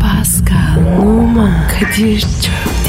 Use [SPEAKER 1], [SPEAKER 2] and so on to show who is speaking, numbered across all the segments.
[SPEAKER 1] Pascal, Oman, Kadir çok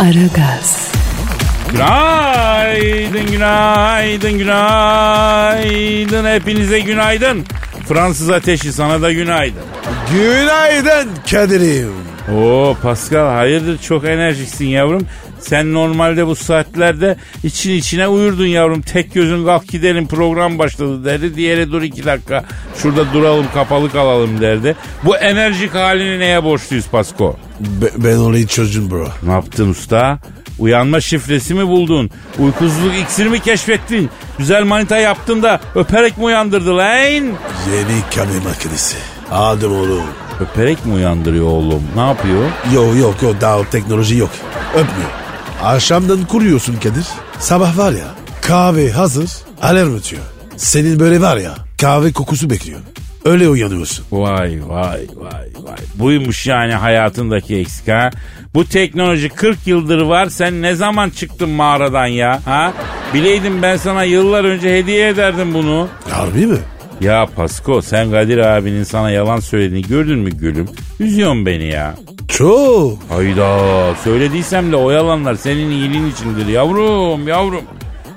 [SPEAKER 1] Aragaz,
[SPEAKER 2] Günaydın, günaydın, günaydın. Hepinize günaydın. Fransız ateşi sana da günaydın.
[SPEAKER 3] Günaydın Kadir'im.
[SPEAKER 2] Oo Pascal hayırdır çok enerjiksin yavrum. Sen normalde bu saatlerde için içine uyurdun yavrum. Tek gözün kalk gidelim program başladı derdi. Diğeri dur iki dakika şurada duralım kapalı kalalım derdi. Bu enerjik halini neye borçluyuz Pasko?
[SPEAKER 3] Be- ben orayı çözdüm bro.
[SPEAKER 2] Ne yaptın usta? Uyanma şifresi mi buldun? Uykusuzluk iksiri mi keşfettin? Güzel manita yaptın da öperek mi uyandırdı lan?
[SPEAKER 3] Yeni kahve makinesi. Adım oğlum.
[SPEAKER 2] Öperek mi uyandırıyor oğlum? Ne yapıyor?
[SPEAKER 3] Yok yok yok daha o teknoloji yok. Öpmüyor. Akşamdan kuruyorsun Kadir. Sabah var ya kahve hazır alarm ötüyor. Senin böyle var ya kahve kokusu bekliyor. Öyle uyanıyorsun.
[SPEAKER 2] Vay vay vay vay. Buymuş yani hayatındaki eksik ha. Bu teknoloji 40 yıldır var. Sen ne zaman çıktın mağaradan ya? Ha? Bileydim ben sana yıllar önce hediye ederdim bunu.
[SPEAKER 3] Harbi mi?
[SPEAKER 2] Ya Pasko sen Kadir abinin sana yalan söylediğini gördün mü gülüm? Üzüyorsun beni ya.
[SPEAKER 3] Çok.
[SPEAKER 2] Hayda söylediysem de o yalanlar senin iyiliğin içindir yavrum yavrum.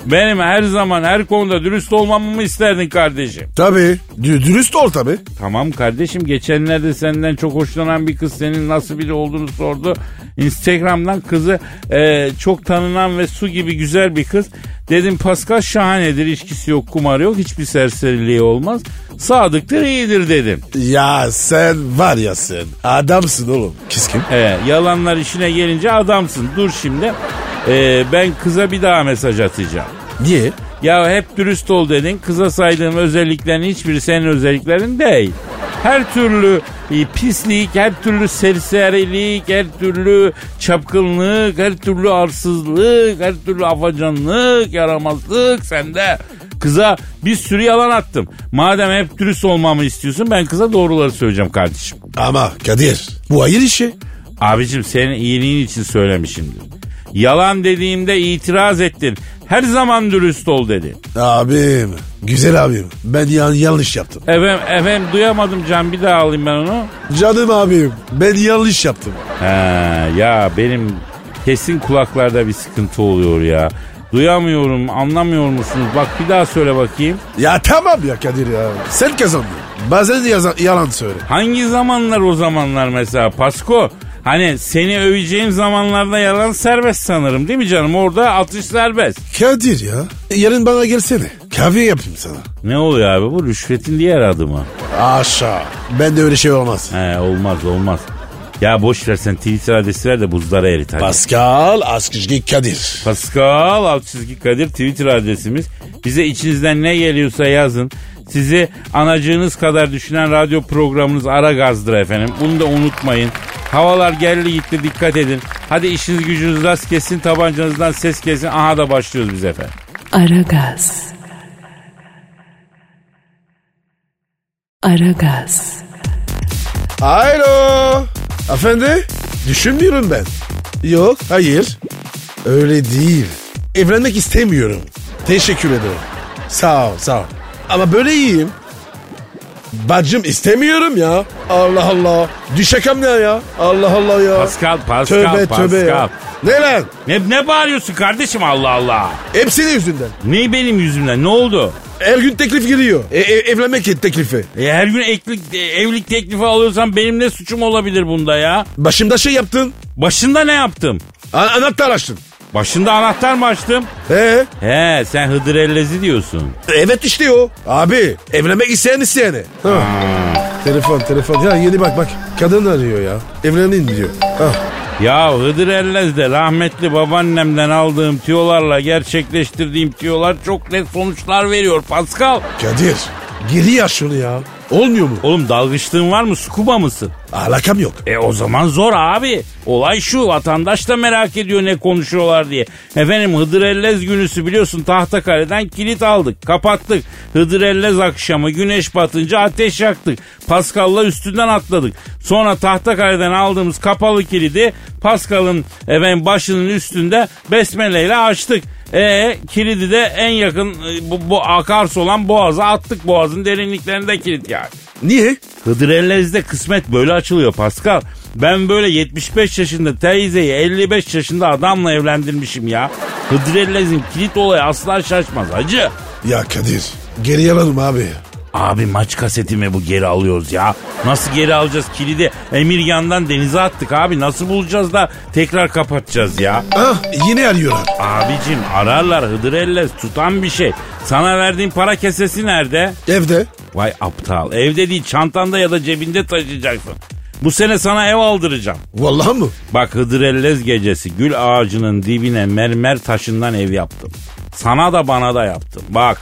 [SPEAKER 2] Benim her zaman her konuda dürüst olmamı mı isterdin kardeşim?
[SPEAKER 3] Tabii. Dü- dürüst ol tabii.
[SPEAKER 2] Tamam kardeşim geçenlerde senden çok hoşlanan bir kız senin nasıl biri olduğunu sordu. Instagram'dan kızı e, çok tanınan ve su gibi güzel bir kız. Dedim Pascal şahanedir ilişkisi yok kumarı yok hiçbir serseriliği olmaz. Sadıktır iyidir dedim.
[SPEAKER 3] Ya sen var ya sen. Adamsın oğlum. Kız kim?
[SPEAKER 2] He, E, yalanlar işine gelince adamsın. Dur şimdi. Ee, ben kıza bir daha mesaj atacağım.
[SPEAKER 3] Niye?
[SPEAKER 2] Ya hep dürüst ol dedin. Kıza saydığım özelliklerin hiçbiri senin özelliklerin değil. Her türlü e, pislik, her türlü serserilik, her türlü çapkınlık, her türlü arsızlık, her türlü afacanlık, yaramazlık sende. Kıza bir sürü yalan attım. Madem hep dürüst olmamı istiyorsun ben kıza doğruları söyleyeceğim kardeşim.
[SPEAKER 3] Ama Kadir bu hayır işi.
[SPEAKER 2] Abicim senin iyiliğin için söylemişimdir. Yalan dediğimde itiraz ettin. Her zaman dürüst ol dedi.
[SPEAKER 3] Abim. Güzel abim. Ben yan yanlış yaptım.
[SPEAKER 2] Efendim, efendim duyamadım Can bir daha alayım ben onu.
[SPEAKER 3] Canım abim. Ben yanlış yaptım.
[SPEAKER 2] He, ya benim kesin kulaklarda bir sıkıntı oluyor ya. Duyamıyorum anlamıyor musunuz? Bak bir daha söyle bakayım.
[SPEAKER 3] Ya tamam ya Kadir ya. Sen kazandın. Bazen yaza- yalan söyle.
[SPEAKER 2] Hangi zamanlar o zamanlar mesela Pasko? Hani seni öveceğim zamanlarda yalan serbest sanırım değil mi canım? Orada atış serbest.
[SPEAKER 3] Kadir ya. Yarın bana gelsene. Kahve yapayım sana.
[SPEAKER 2] Ne oluyor abi bu rüşvetin diğer adı mı?
[SPEAKER 3] Aşağı. Ben de öyle şey olmaz.
[SPEAKER 2] He olmaz olmaz. Ya boş ver sen Twitter adresi ver de buzlara erit hadi.
[SPEAKER 3] Pascal Askışki Kadir.
[SPEAKER 2] Pascal alt çizgi Kadir Twitter adresimiz. Bize içinizden ne geliyorsa yazın. Sizi anacığınız kadar düşünen radyo programınız Ara Gaz'dır efendim. Bunu da unutmayın. Havalar geldi gitti dikkat edin. Hadi işiniz gücünüz rast kesin tabancanızdan ses kesin. Aha da başlıyoruz biz efendim.
[SPEAKER 1] Aragaz. Aragaz,
[SPEAKER 3] Alo. Efendi? Düşünmüyorum ben. Yok hayır. Öyle değil. Evlenmek istemiyorum. Teşekkür ederim. Sağ ol sağ ol. Ama böyle iyiyim. Bacım istemiyorum ya. Allah Allah. Düşekem ne ya? Allah Allah ya.
[SPEAKER 2] Pascal, Pascal,
[SPEAKER 3] tövbe
[SPEAKER 2] Pascal.
[SPEAKER 3] tövbe ya. Ne lan?
[SPEAKER 2] Ne, ne bağırıyorsun kardeşim Allah Allah.
[SPEAKER 3] Hepsinin yüzünden.
[SPEAKER 2] Ne benim yüzümden ne oldu?
[SPEAKER 3] Her gün teklif geliyor. E, e- evlenmek teklifi.
[SPEAKER 2] E, her gün eklik, e, evlilik teklifi alıyorsan benim ne suçum olabilir bunda ya?
[SPEAKER 3] Başımda şey yaptın.
[SPEAKER 2] Başında ne yaptım?
[SPEAKER 3] An- anahtar açtın.
[SPEAKER 2] Başında anahtar mı açtım?
[SPEAKER 3] Ee?
[SPEAKER 2] He sen Hıdrellezi diyorsun.
[SPEAKER 3] Evet işte o. Abi evlenmek isteyen isteyene. Ha. Telefon telefon. Ya yeni bak bak. Kadın arıyor ya. Evlenin diyor. Ha.
[SPEAKER 2] Ya Hıdrellez de rahmetli babaannemden aldığım tüyolarla gerçekleştirdiğim tüyolar çok net sonuçlar veriyor Pascal.
[SPEAKER 3] Kadir. Geri ya şunu ya. Olmuyor mu?
[SPEAKER 2] Oğlum dalgıçlığın var mı? Scuba mısın?
[SPEAKER 3] Alakam yok.
[SPEAKER 2] E o zaman zor abi. Olay şu vatandaş da merak ediyor ne konuşuyorlar diye. Efendim Hıdır Ellez günüsü biliyorsun Tahtakale'den kilit aldık. Kapattık. Hıdır Ellez akşamı güneş batınca ateş yaktık. Pascal'la üstünden atladık. Sonra Tahtakale'den aldığımız kapalı kilidi Pascal'ın efendim, başının üstünde besmeleyle açtık. E kilidi de en yakın e, bu, bu akarsu olan boğaza attık. Boğazın derinliklerinde kilit yani.
[SPEAKER 3] Niye?
[SPEAKER 2] Hıdır Ellez'de kısmet böyle açılıyor Pascal. Ben böyle 75 yaşında teyzeyi 55 yaşında adamla evlendirmişim ya. Hıdır Ellez'in kilit olayı asla şaşmaz hacı.
[SPEAKER 3] Ya Kadir geri alalım abi.
[SPEAKER 2] Abi maç kasetimi bu geri alıyoruz ya. Nasıl geri alacağız kilidi? Emirgan'dan denize attık abi. Nasıl bulacağız da tekrar kapatacağız ya?
[SPEAKER 3] Ah yine arıyorlar.
[SPEAKER 2] Abicim ararlar Hıdır Ellez tutan bir şey. Sana verdiğim para kesesi nerede?
[SPEAKER 3] Evde.
[SPEAKER 2] Vay aptal. Evde değil çantanda ya da cebinde taşıyacaksın. Bu sene sana ev aldıracağım.
[SPEAKER 3] Vallahi mı?
[SPEAKER 2] Bak Hıdrellez gecesi gül ağacının dibine mermer taşından ev yaptım. Sana da bana da yaptım. Bak.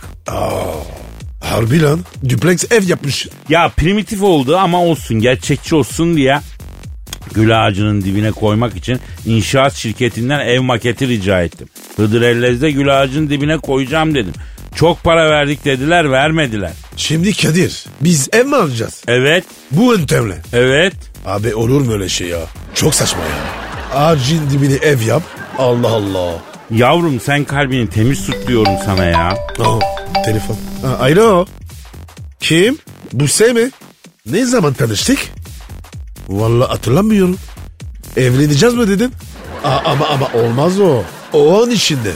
[SPEAKER 3] Harbi lan. Duplex ev yapmış.
[SPEAKER 2] Ya primitif oldu ama olsun gerçekçi olsun diye gül ağacının dibine koymak için inşaat şirketinden ev maketi rica ettim. Hıdrellez'de gül ağacının dibine koyacağım dedim. Çok para verdik dediler vermediler.
[SPEAKER 3] Şimdi Kadir biz ev mi alacağız?
[SPEAKER 2] Evet,
[SPEAKER 3] Bu yöntemle.
[SPEAKER 2] evet.
[SPEAKER 3] Abi olur mu öyle şey ya? Çok saçma ya. Ağacın dibine ev yap. Allah Allah.
[SPEAKER 2] Yavrum sen kalbini temiz tut diyorum sana ya.
[SPEAKER 3] Aha, telefon. Ha, alo. Kim? Buse mi? Ne zaman tanıştık? Vallahi hatırlamıyorum. Evleneceğiz mi dedin? A- ama ama olmaz o. O an içinde.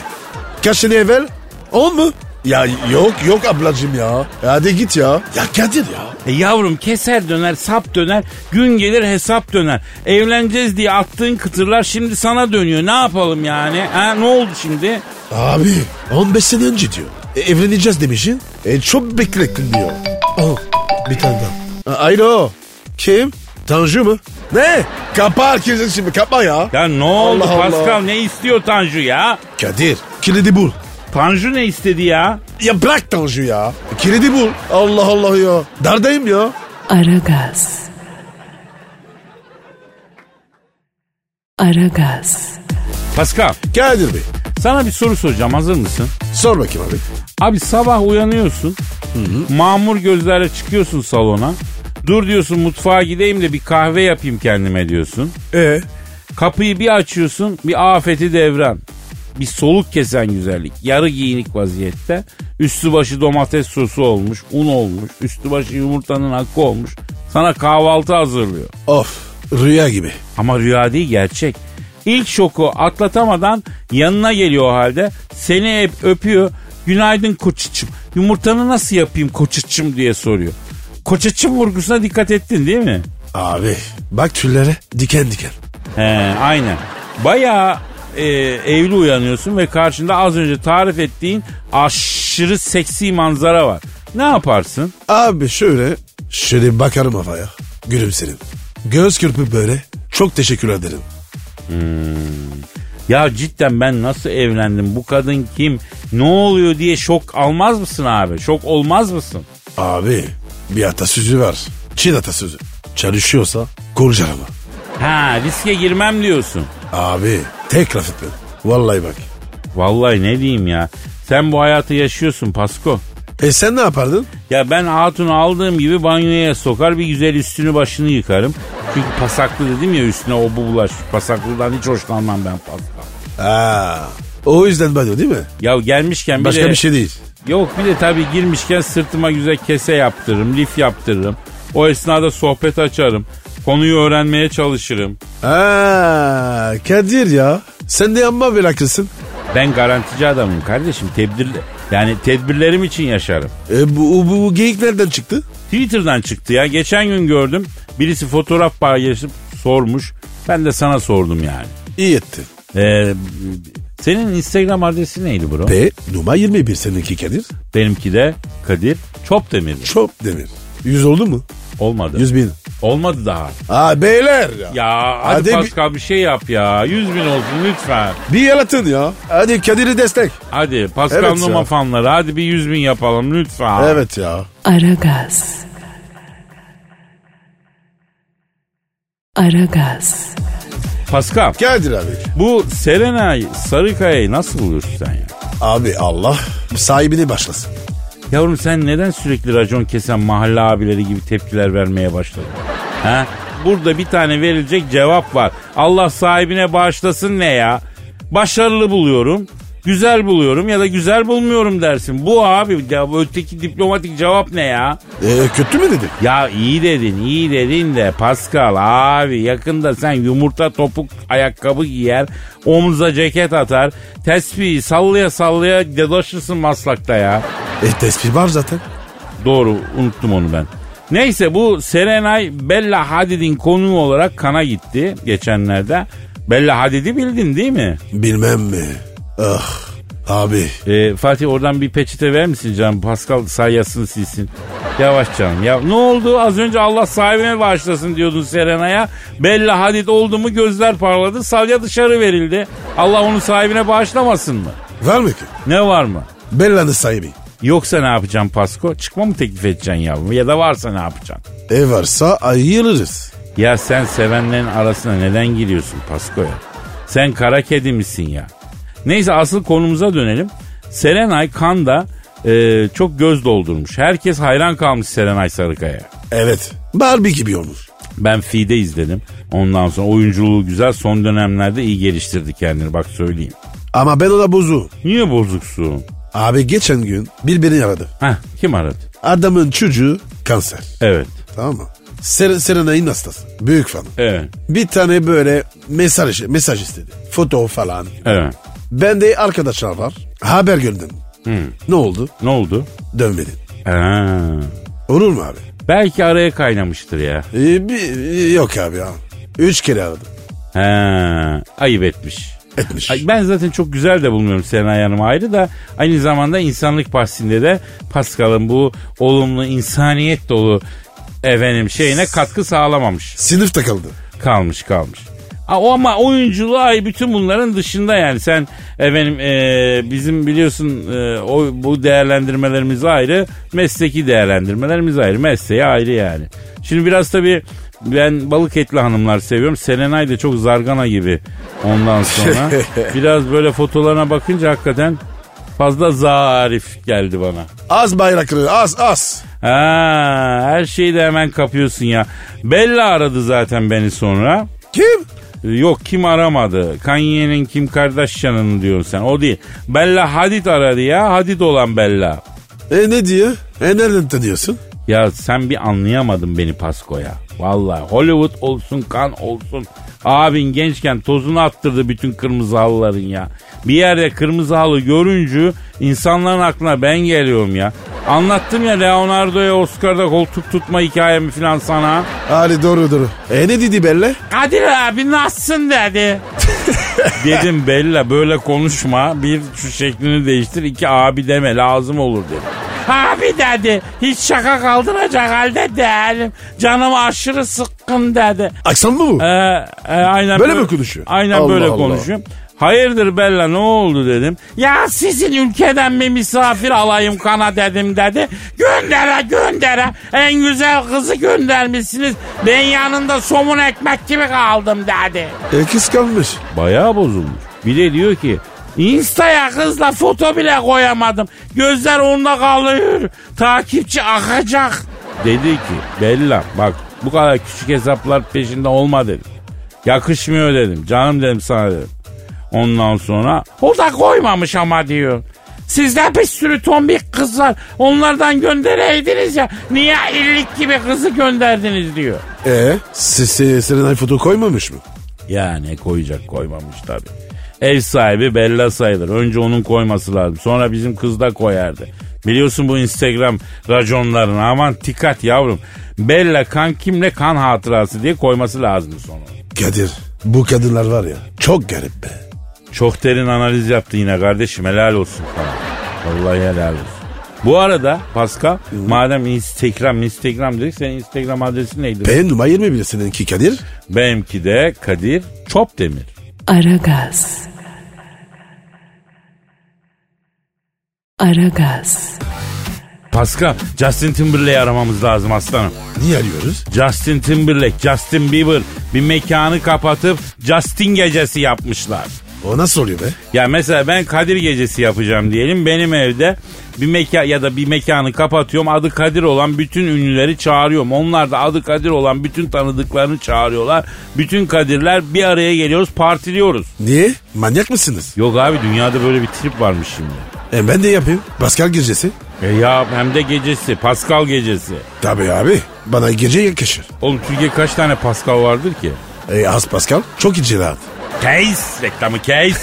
[SPEAKER 3] Kaç sene evvel? On mu? Ya yok yok ablacım ya. Hadi git ya. Ya Kadir ya.
[SPEAKER 2] E yavrum keser döner, sap döner, gün gelir hesap döner. Evleneceğiz diye attığın kıtırlar şimdi sana dönüyor. Ne yapalım yani? Ha, ne oldu şimdi?
[SPEAKER 3] Abi 15 sene önce diyor. E, evleneceğiz demişsin. E, çok beklettin diyor. Al bir tane daha. A- Alo. Kim? Tanju mu? Ne? Kapa herkesin şimdi kapa ya.
[SPEAKER 2] Ya ne oldu
[SPEAKER 3] Allah Allah.
[SPEAKER 2] Pascal? Ne istiyor Tanju ya?
[SPEAKER 3] Kadir kilidi bul.
[SPEAKER 2] Tanju ne istedi ya?
[SPEAKER 3] Ya bırak Tanju ya. E, Kilidi bul. Allah Allah ya. Dardayım ya.
[SPEAKER 1] Aragaz. Aragaz.
[SPEAKER 2] Pascal
[SPEAKER 3] Kadir Bey
[SPEAKER 2] sana bir soru soracağım hazır mısın?
[SPEAKER 3] sor bakayım abi.
[SPEAKER 2] Abi sabah uyanıyorsun. Mamur gözlerle çıkıyorsun salona. Dur diyorsun mutfağa gideyim de bir kahve yapayım kendime diyorsun.
[SPEAKER 3] Ee?
[SPEAKER 2] Kapıyı bir açıyorsun bir afeti devran. Bir soluk kesen güzellik. Yarı giyinik vaziyette. Üstü başı domates sosu olmuş. Un olmuş. Üstü başı yumurtanın hakkı olmuş. Sana kahvaltı hazırlıyor.
[SPEAKER 3] Of rüya gibi.
[SPEAKER 2] Ama rüya değil gerçek. İlk şoku atlatamadan yanına geliyor o halde. Seni hep öpüyor. Günaydın koçiçim. Yumurtanı nasıl yapayım koçiçim diye soruyor. Koçiçim vurgusuna dikkat ettin değil mi?
[SPEAKER 3] Abi bak tüllere diken diken.
[SPEAKER 2] He, aynen. Bayağı e, evli uyanıyorsun ve karşında az önce tarif ettiğin aşırı seksi manzara var. Ne yaparsın?
[SPEAKER 3] Abi şöyle şöyle bakarım havaya. Gülümserim. Göz kırpıp böyle çok teşekkür ederim.
[SPEAKER 2] Ya cidden ben nasıl evlendim? Bu kadın kim? Ne oluyor diye şok almaz mısın abi? Şok olmaz mısın?
[SPEAKER 3] Abi bir atasözü var. Çin atasözü. Çalışıyorsa kurcar ama.
[SPEAKER 2] Ha riske girmem diyorsun.
[SPEAKER 3] Abi tek laf etmem. Vallahi bak.
[SPEAKER 2] Vallahi ne diyeyim ya. Sen bu hayatı yaşıyorsun Pasko.
[SPEAKER 3] E sen ne yapardın?
[SPEAKER 2] Ya ben hatunu aldığım gibi banyoya sokar bir güzel üstünü başını yıkarım. Çünkü pasaklı dedim ya üstüne o bu bulaş. Pasaklıdan hiç hoşlanmam ben Pascal.
[SPEAKER 3] Aa, o yüzden banyo değil mi?
[SPEAKER 2] Ya gelmişken bir
[SPEAKER 3] Başka
[SPEAKER 2] de...
[SPEAKER 3] bir şey değil.
[SPEAKER 2] Yok bir de tabii girmişken sırtıma güzel kese yaptırırım, lif yaptırırım. O esnada sohbet açarım. Konuyu öğrenmeye çalışırım.
[SPEAKER 3] Aa, Kadir ya. Sen de amma meraklısın.
[SPEAKER 2] Ben garantici adamım kardeşim. Tedbir, yani tedbirlerim için yaşarım.
[SPEAKER 3] E, bu, bu, bu geyik nereden çıktı?
[SPEAKER 2] Twitter'dan çıktı ya. Geçen gün gördüm. Birisi fotoğraf paylaşıp sormuş. Ben de sana sordum yani.
[SPEAKER 3] İyi etti.
[SPEAKER 2] Ee, senin Instagram adresi neydi bro?
[SPEAKER 3] P numara 21 seninki Kadir.
[SPEAKER 2] Benimki de Kadir Çopdemir.
[SPEAKER 3] Çok demir. 100 oldu mu?
[SPEAKER 2] Olmadı.
[SPEAKER 3] 100 bin.
[SPEAKER 2] Olmadı daha.
[SPEAKER 3] Aa beyler ya.
[SPEAKER 2] Ya hadi,
[SPEAKER 3] Hadi bir-
[SPEAKER 2] Pascal bir şey yap ya. 100 bin olsun lütfen.
[SPEAKER 3] Bir yalatın ya. Hadi Kadir'i destek.
[SPEAKER 2] Hadi Pascal
[SPEAKER 3] Evet
[SPEAKER 2] Numa
[SPEAKER 3] ya.
[SPEAKER 2] fanları hadi bir 100 bin yapalım lütfen.
[SPEAKER 3] Evet ya.
[SPEAKER 1] Aragaz. Aragaz,
[SPEAKER 2] Pascal
[SPEAKER 3] Kadir abi.
[SPEAKER 2] bu Serenay Sarıkaya'yı nasıl buluyorsun sen ya?
[SPEAKER 3] Abi Allah sahibini başlasın.
[SPEAKER 2] Yavrum sen neden sürekli racon kesen mahalle abileri gibi tepkiler vermeye başladın? Ha? Burada bir tane verilecek cevap var. Allah sahibine bağışlasın ne ya? Başarılı buluyorum, güzel buluyorum ya da güzel bulmuyorum dersin. Bu abi ya bu öteki diplomatik cevap ne ya?
[SPEAKER 3] Ee, kötü mü dedi?
[SPEAKER 2] Ya iyi dedin, iyi dedin de Pascal abi yakında sen yumurta topuk ayakkabı giyer, omuza ceket atar, tespihi sallaya sallaya dolaşırsın maslakta ya.
[SPEAKER 3] E tespih var zaten.
[SPEAKER 2] Doğru unuttum onu ben. Neyse bu Serenay Bella Hadid'in konuğu olarak kana gitti geçenlerde. Bella Hadid'i bildin değil mi?
[SPEAKER 3] Bilmem mi? Ah abi.
[SPEAKER 2] Ee, Fatih oradan bir peçete verir misin canım? Pascal sayısını silsin. Yavaş canım. Ya ne oldu? Az önce Allah sahibine bağışlasın diyordun Serena'ya. Bella Hadid oldu mu gözler parladı. Savya dışarı verildi. Allah onun sahibine bağışlamasın mı?
[SPEAKER 3] Var mı ki?
[SPEAKER 2] Ne var mı?
[SPEAKER 3] Bella'nın sahibi.
[SPEAKER 2] Yoksa ne yapacaksın Pasko? Çıkma mı teklif edeceksin yavrum? Ya da varsa ne yapacaksın?
[SPEAKER 3] E varsa ayırırız.
[SPEAKER 2] Ya sen sevenlerin arasına neden giriyorsun Pasko'ya? Sen kara kedi misin ya? Neyse asıl konumuza dönelim. Serenay Kanda e, çok göz doldurmuş. Herkes hayran kalmış Serenay Sarıkaya.
[SPEAKER 3] Evet. Barbie gibi olmuş.
[SPEAKER 2] Ben Fide izledim. Ondan sonra oyunculuğu güzel. Son dönemlerde iyi geliştirdi kendini bak söyleyeyim.
[SPEAKER 3] Ama ben ona bozu.
[SPEAKER 2] Niye bozuksun?
[SPEAKER 3] Abi geçen gün bir beni aradı.
[SPEAKER 2] Heh kim aradı?
[SPEAKER 3] Adamın çocuğu kanser.
[SPEAKER 2] Evet.
[SPEAKER 3] Tamam mı? Ser Serenay'ın hastası. Büyük falan.
[SPEAKER 2] Evet.
[SPEAKER 3] Bir tane böyle mesaj mesaj istedi. Foto falan.
[SPEAKER 2] Evet.
[SPEAKER 3] Ben de arkadaşlar var. Haber gönderdim. Ne oldu?
[SPEAKER 2] Ne oldu?
[SPEAKER 3] Dönmedin.
[SPEAKER 2] Ha.
[SPEAKER 3] Olur mu abi?
[SPEAKER 2] Belki araya kaynamıştır ya.
[SPEAKER 3] Ee, bir- yok abi ya. Üç kere aradım.
[SPEAKER 2] Ha. Ayıp etmiş.
[SPEAKER 3] Etmiş.
[SPEAKER 2] Ay, Ben zaten çok güzel de bulmuyorum Serenay Hanım ayrı da aynı zamanda insanlık bahsinde de Pascal'ın bu olumlu insaniyet dolu efendim şeyine katkı sağlamamış.
[SPEAKER 3] Sınıf takıldı.
[SPEAKER 2] Kalmış kalmış. Ha, o ama oyunculuğu ay bütün bunların dışında yani sen efendim e, bizim biliyorsun e, o bu değerlendirmelerimiz ayrı mesleki değerlendirmelerimiz ayrı mesleği ayrı yani. Şimdi biraz tabii ben balık etli hanımlar seviyorum. Serenay da çok zargana gibi ondan sonra. biraz böyle fotolarına bakınca hakikaten fazla zarif geldi bana.
[SPEAKER 3] Az bayrakları az az.
[SPEAKER 2] Ha, her şeyi de hemen kapıyorsun ya. Bella aradı zaten beni sonra.
[SPEAKER 3] Kim?
[SPEAKER 2] Ee, Yok kim aramadı? Kanye'nin Kim Kardashian'ın diyorsun sen. O değil. Bella Hadid aradı ya. Hadid olan Bella.
[SPEAKER 3] E ne diyor? E nereden tanıyorsun?
[SPEAKER 2] Ya sen bir anlayamadın beni Pasko'ya. Vallahi Hollywood olsun kan olsun. Abin gençken tozunu attırdı bütün kırmızı halıların ya. Bir yerde kırmızı halı görünce insanların aklına ben geliyorum ya. Anlattım ya Leonardo'ya Oscar'da koltuk tutma hikayemi falan sana.
[SPEAKER 3] Ali doğru doğru. E ne dedi Bella?
[SPEAKER 2] Kadir abi nasılsın dedi. Dedim Bella böyle konuşma. Bir şu şeklini değiştir. iki abi deme lazım olur dedi. Abi dedi hiç şaka kaldıracak halde değilim. Canım aşırı sıkkın dedi.
[SPEAKER 3] Aksan mı bu?
[SPEAKER 2] Ee, e, aynen
[SPEAKER 3] Böyle mi konuşuyor?
[SPEAKER 2] Aynen
[SPEAKER 3] Allah
[SPEAKER 2] böyle
[SPEAKER 3] Allah.
[SPEAKER 2] konuşuyor. Hayırdır Bella ne oldu dedim. Ya sizin ülkeden bir misafir alayım kana dedim dedi. Göndere göndere en güzel kızı göndermişsiniz. Ben yanında somun ekmek gibi kaldım dedi.
[SPEAKER 3] E kıskanmış.
[SPEAKER 2] Bayağı bozulmuş. Bir de diyor ki Insta'ya kızla foto bile koyamadım. Gözler onda kalıyor. Takipçi akacak. Dedi ki Bella bak bu kadar küçük hesaplar peşinde olma dedim. Yakışmıyor dedim. Canım dedim sana dedim. Ondan sonra o da koymamış ama diyor. Sizde bir sürü tombik kız var. Onlardan göndereydiniz ya. Niye illik gibi kızı gönderdiniz diyor.
[SPEAKER 3] E se- se- Serenay foto koymamış mı?
[SPEAKER 2] Ya ne koyacak koymamış tabi. Ev sahibi Bella sayılır. Önce onun koyması lazım. Sonra bizim kız da koyardı. Biliyorsun bu Instagram raconlarını. Aman dikkat yavrum. Bella kan kimle kan hatırası diye koyması lazım sonra.
[SPEAKER 3] Kadir bu kadınlar var ya çok garip be.
[SPEAKER 2] Çok derin analiz yaptı yine kardeşim. Helal olsun falan. Vallahi helal olsun. Bu arada Pascal madem Instagram Instagram dedik senin Instagram adresin neydi?
[SPEAKER 3] Ben numara 20 bile seninki Kadir.
[SPEAKER 2] Benimki de Kadir Çopdemir.
[SPEAKER 1] Aragaz. Aragaz.
[SPEAKER 2] Pascal, Justin Timberlake'i aramamız lazım aslanım.
[SPEAKER 3] Niye arıyoruz?
[SPEAKER 2] Justin Timberlake, Justin Bieber bir mekanı kapatıp Justin gecesi yapmışlar.
[SPEAKER 3] O nasıl oluyor be?
[SPEAKER 2] Ya mesela ben Kadir gecesi yapacağım diyelim. Benim evde bir mekan ya da bir mekanı kapatıyorum. Adı Kadir olan bütün ünlüleri çağırıyorum. Onlar da adı Kadir olan bütün tanıdıklarını çağırıyorlar. Bütün Kadirler bir araya geliyoruz, partiliyoruz.
[SPEAKER 3] Niye? Manyak mısınız?
[SPEAKER 2] Yok abi dünyada böyle bir trip varmış şimdi.
[SPEAKER 3] E ben de yapayım. Pascal gecesi.
[SPEAKER 2] E ya hem de gecesi, Pascal gecesi.
[SPEAKER 3] Tabii abi. Bana gece yakışır.
[SPEAKER 2] Oğlum Türkiye kaç tane Pascal vardır ki?
[SPEAKER 3] E az Pascal. Çok icraat.
[SPEAKER 2] Case reklamı case.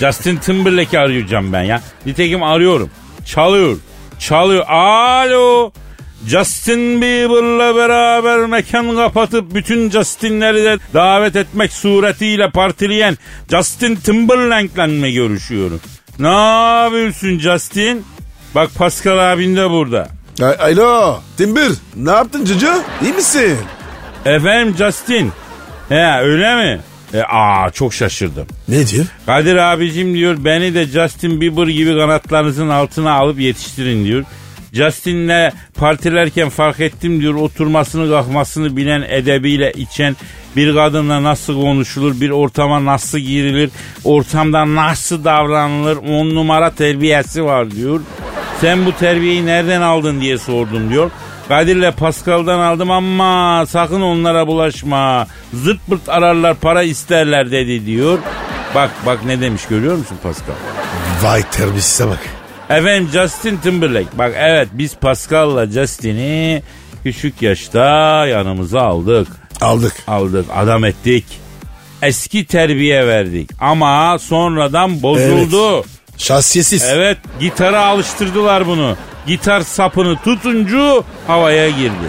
[SPEAKER 2] Justin Timberlake'i arayacağım ben ya. Nitekim arıyorum. Çalıyor. Çalıyor. Alo. Justin Bieber'la beraber mekan kapatıp bütün Justin'leri de davet etmek suretiyle partileyen Justin Timberlake'le mi görüşüyorum? Ne yapıyorsun Justin? Bak Pascal abin de burada.
[SPEAKER 3] A- Alo. Timber. Ne yaptın cıcı? İyi misin?
[SPEAKER 2] Efendim Justin. He öyle mi? E, aa çok şaşırdım.
[SPEAKER 3] Ne diyor?
[SPEAKER 2] Kadir abicim diyor beni de Justin Bieber gibi kanatlarınızın altına alıp yetiştirin diyor. Justin'le partilerken fark ettim diyor oturmasını kalkmasını bilen edebiyle içen bir kadınla nasıl konuşulur, bir ortama nasıl girilir, ortamda nasıl davranılır, on numara terbiyesi var diyor. Sen bu terbiyeyi nereden aldın diye sordum diyor. Kadir'le Pascal'dan aldım ama sakın onlara bulaşma. Zırt pırt ararlar para isterler dedi diyor. Bak bak ne demiş görüyor musun Pascal?
[SPEAKER 3] Vay terbiyesize bak.
[SPEAKER 2] Efendim Justin Timberlake. Bak evet biz Pascal'la Justin'i küçük yaşta yanımıza aldık.
[SPEAKER 3] Aldık.
[SPEAKER 2] Aldık adam ettik. Eski terbiye verdik ama sonradan bozuldu.
[SPEAKER 3] Şahsiyetsiz.
[SPEAKER 2] Evet gitara alıştırdılar bunu. Gitar sapını tutuncu havaya girdi.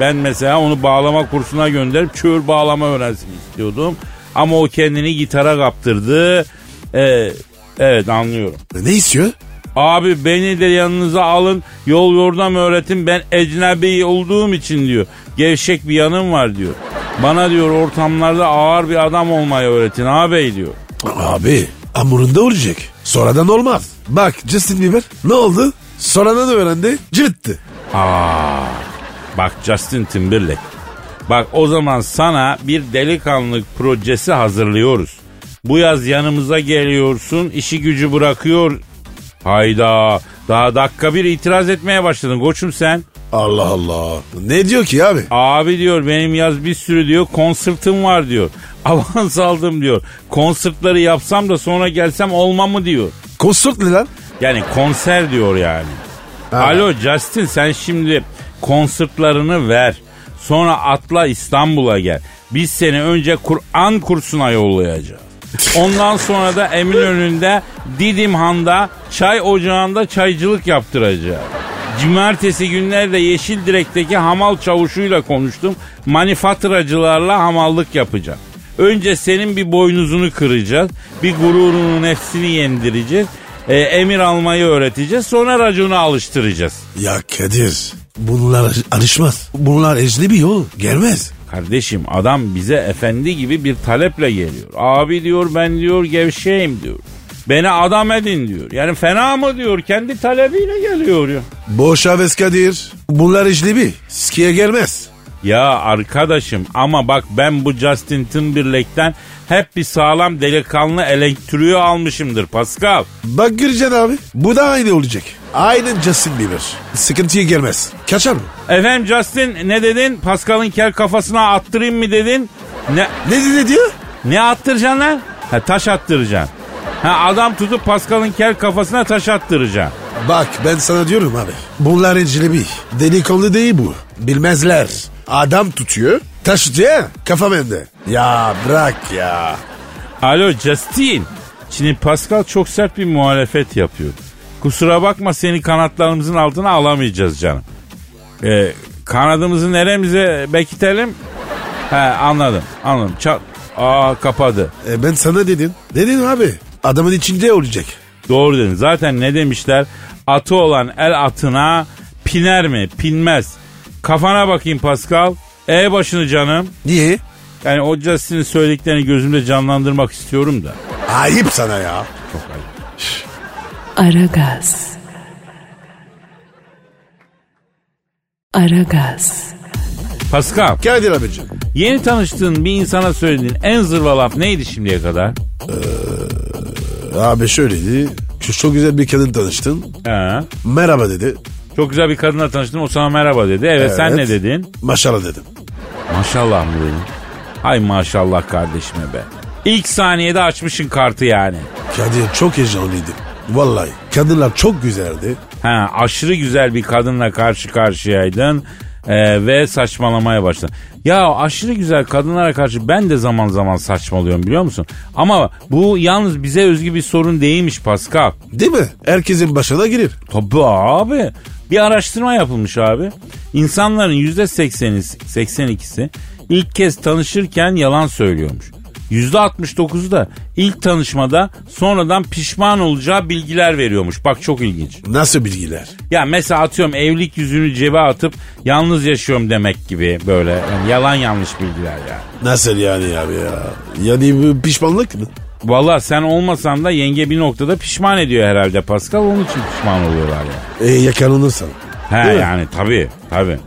[SPEAKER 2] Ben mesela onu bağlama kursuna gönderip çığır bağlama öğrensin istiyordum. Ama o kendini gitara kaptırdı. Ee, evet anlıyorum.
[SPEAKER 3] Ne istiyor?
[SPEAKER 2] Abi beni de yanınıza alın yol yordam öğretin ben ecnebi olduğum için diyor. Gevşek bir yanım var diyor. Bana diyor ortamlarda ağır bir adam olmayı öğretin ağabey diyor.
[SPEAKER 3] Abi amurunda olacak. Sonradan olmaz. Bak Justin Bieber ne oldu? Sonradan öğrendi. Cıvıttı.
[SPEAKER 2] Bak Justin Timberlake. Bak o zaman sana bir delikanlılık projesi hazırlıyoruz. Bu yaz yanımıza geliyorsun, işi gücü bırakıyor. Hayda, daha dakika bir itiraz etmeye başladın koçum sen.
[SPEAKER 3] Allah Allah. Ne diyor ki abi?
[SPEAKER 2] Abi diyor benim yaz bir sürü diyor konsertim var diyor. Avans aldım diyor. Konsertleri yapsam da sonra gelsem olmam mı diyor.
[SPEAKER 3] Konsort ne lan?
[SPEAKER 2] Yani konser diyor yani. Alo Justin sen şimdi konsertlarını ver. Sonra atla İstanbul'a gel. Biz seni önce Kur'an kursuna yollayacağız. Ondan sonra da Eminönü'nde Didim Han'da çay ocağında çaycılık yaptıracağız. Cumartesi günlerde Yeşildirek'teki hamal çavuşuyla konuştum. Manifatıracılarla hamallık yapacağım. Önce senin bir boynuzunu kıracağız. Bir gururunun nefsini yendireceğiz. e, emir almayı öğreteceğiz. Sonra raconu alıştıracağız.
[SPEAKER 3] Ya Kadir bunlar alışmaz. Bunlar ecnebi yol gelmez.
[SPEAKER 2] Kardeşim adam bize efendi gibi bir taleple geliyor. Abi diyor ben diyor gevşeyim diyor. Beni adam edin diyor. Yani fena mı diyor kendi talebiyle geliyor ya.
[SPEAKER 3] Boş aves Kadir. Bunlar ecnebi. Skiye gelmez.
[SPEAKER 2] Ya arkadaşım ama bak ben bu Justin Timberlake'ten hep bir sağlam delikanlı elektriği almışımdır Pascal.
[SPEAKER 3] Bak göreceksin abi. Bu da aynı olacak. Aynen Justin Bieber. Sıkıntıya gelmez. Kaçar mı?
[SPEAKER 2] Efendim Justin ne dedin? Pascal'ın kel kafasına attırayım mı dedin? Ne
[SPEAKER 3] Ne dedi diyor?
[SPEAKER 2] ne attıracaksın lan? Ha taş attıracaksın. Ha adam tutup Pascal'ın kel kafasına taş attıracaksın.
[SPEAKER 3] Bak ben sana diyorum abi. Bunlar ecnebi. Delikanlı değil bu. Bilmezler. Adam tutuyor. Taş tutuyor. ha, Kafa bende. Ya bırak ya.
[SPEAKER 2] Alo Justin. Şimdi Pascal çok sert bir muhalefet yapıyor. Kusura bakma seni kanatlarımızın altına alamayacağız canım. Ee, kanadımızı neremize bekitelim? He anladım anladım. Çat. Aa kapadı.
[SPEAKER 3] E ben sana dedim. Dedin abi. Adamın içinde olacak.
[SPEAKER 2] Doğru dedin. Zaten ne demişler? Atı olan el atına piner mi? Pinmez. Kafana bakayım Pascal. E başını canım.
[SPEAKER 3] Niye?
[SPEAKER 2] Yani o Justin'in söylediklerini gözümde canlandırmak istiyorum da.
[SPEAKER 3] Ayıp sana ya.
[SPEAKER 1] Aragaz. Aragaz,
[SPEAKER 2] Pascal,
[SPEAKER 3] Kadir abicim.
[SPEAKER 2] yeni tanıştığın bir insana söylediğin en zırva laf neydi şimdiye kadar?
[SPEAKER 3] Abi şöyleydi. Şu çok güzel bir kadın tanıştın.
[SPEAKER 2] Ha.
[SPEAKER 3] Merhaba dedi.
[SPEAKER 2] Çok güzel bir kadınla tanıştım o sana merhaba dedi. Evet, sen ne
[SPEAKER 3] Evet.
[SPEAKER 2] dedin?
[SPEAKER 3] Maşallah dedim.
[SPEAKER 2] Maşallah mı dedin? Hay maşallah kardeşime be. İlk saniyede açmışın kartı yani.
[SPEAKER 3] Kadir çok heyecanlıydım. Vallahi kadınlar çok güzeldi.
[SPEAKER 2] Ha, aşırı güzel bir kadınla karşı karşıyaydın e, ve saçmalamaya başladın. Ya aşırı güzel kadınlara karşı ben de zaman zaman saçmalıyorum biliyor musun? Ama bu yalnız bize özgü bir sorun değilmiş Pascal.
[SPEAKER 3] Değil mi? Herkesin başına girir.
[SPEAKER 2] Tabii abi. Bir araştırma yapılmış abi. İnsanların yüzde sekseni, 82'si ilk kez tanışırken yalan söylüyormuş. Yüzde 69'u da ilk tanışmada sonradan pişman olacağı bilgiler veriyormuş. Bak çok ilginç.
[SPEAKER 3] Nasıl bilgiler?
[SPEAKER 2] Ya mesela atıyorum evlilik yüzünü cebe atıp yalnız yaşıyorum demek gibi böyle yani yalan yanlış bilgiler yani.
[SPEAKER 3] Nasıl yani abi ya? Yani bu pişmanlık mı?
[SPEAKER 2] Valla sen olmasan da yenge bir noktada pişman ediyor herhalde Pascal onun için pişman oluyorlar ya.
[SPEAKER 3] E, yakalanırsan.
[SPEAKER 2] He
[SPEAKER 3] Değil mi?
[SPEAKER 2] yani tabii tabii.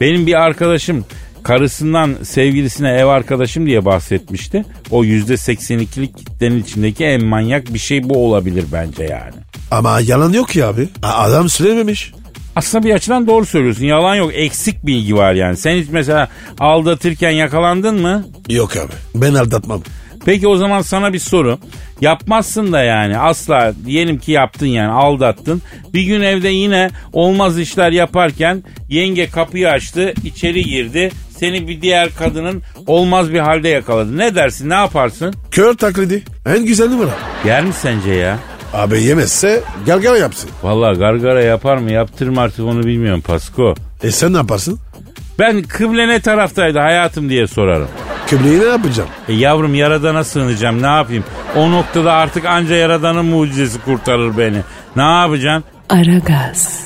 [SPEAKER 2] Benim bir arkadaşım karısından sevgilisine ev arkadaşım diye bahsetmişti. O yüzde %82'lik kitlenin içindeki en manyak bir şey bu olabilir bence yani.
[SPEAKER 3] Ama yalan yok ya abi. A- adam söylememiş.
[SPEAKER 2] Aslında bir açıdan doğru söylüyorsun. Yalan yok. Eksik bilgi var yani. Sen hiç mesela aldatırken yakalandın mı?
[SPEAKER 3] Yok abi. Ben aldatmam.
[SPEAKER 2] Peki o zaman sana bir soru. Yapmazsın da yani asla diyelim ki yaptın yani aldattın. Bir gün evde yine olmaz işler yaparken yenge kapıyı açtı içeri girdi. Seni bir diğer kadının olmaz bir halde yakaladı. Ne dersin ne yaparsın?
[SPEAKER 3] Kör taklidi. En güzel numara.
[SPEAKER 2] Yer mi sence ya?
[SPEAKER 3] Abi yemezse gargara yapsın.
[SPEAKER 2] Vallahi gargara yapar mı yaptırma artık onu bilmiyorum Pasko.
[SPEAKER 3] E sen ne yaparsın?
[SPEAKER 2] Ben kıble ne taraftaydı hayatım diye sorarım.
[SPEAKER 3] Kıbleyi ne yapacağım?
[SPEAKER 2] E yavrum yaradana sığınacağım ne yapayım? O noktada artık anca yaradanın mucizesi kurtarır beni. Ne yapacaksın?
[SPEAKER 1] Aragaz.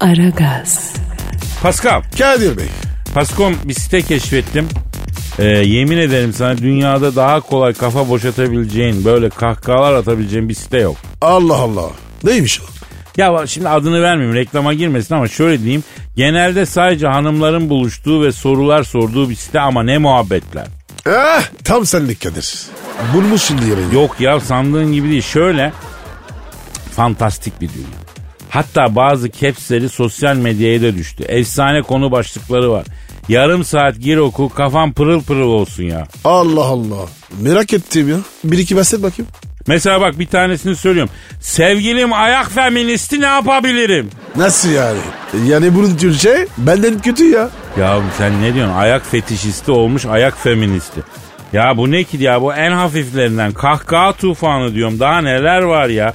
[SPEAKER 1] Aragaz,
[SPEAKER 2] Pascal,
[SPEAKER 3] Kadir Bey.
[SPEAKER 2] Pascom bir site keşfettim. E, yemin ederim sana dünyada daha kolay kafa boşatabileceğin, böyle kahkahalar atabileceğin bir site yok.
[SPEAKER 3] Allah Allah. Neymiş o?
[SPEAKER 2] Ya bak şimdi adını vermeyeyim reklama girmesin ama şöyle diyeyim. Genelde sadece hanımların buluştuğu ve sorular sorduğu bir site ama ne muhabbetler.
[SPEAKER 3] Ah, tam senlik Kadir. Bulmuş şimdi yemeği.
[SPEAKER 2] Yok ya sandığın gibi değil. Şöyle fantastik bir dünya. Hatta bazı capsleri sosyal medyaya da düştü. Efsane konu başlıkları var. Yarım saat gir oku kafan pırıl pırıl olsun ya.
[SPEAKER 3] Allah Allah. Merak ettim ya. Bir iki bahset bakayım.
[SPEAKER 2] Mesela bak bir tanesini söylüyorum. Sevgilim ayak feministi ne yapabilirim?
[SPEAKER 3] Nasıl yani? Yani bunun Türkçe benden kötü ya.
[SPEAKER 2] Ya sen ne diyorsun? Ayak fetişisti olmuş ayak feministi. Ya bu ne ki ya bu en hafiflerinden kahkaha tufanı diyorum daha neler var ya.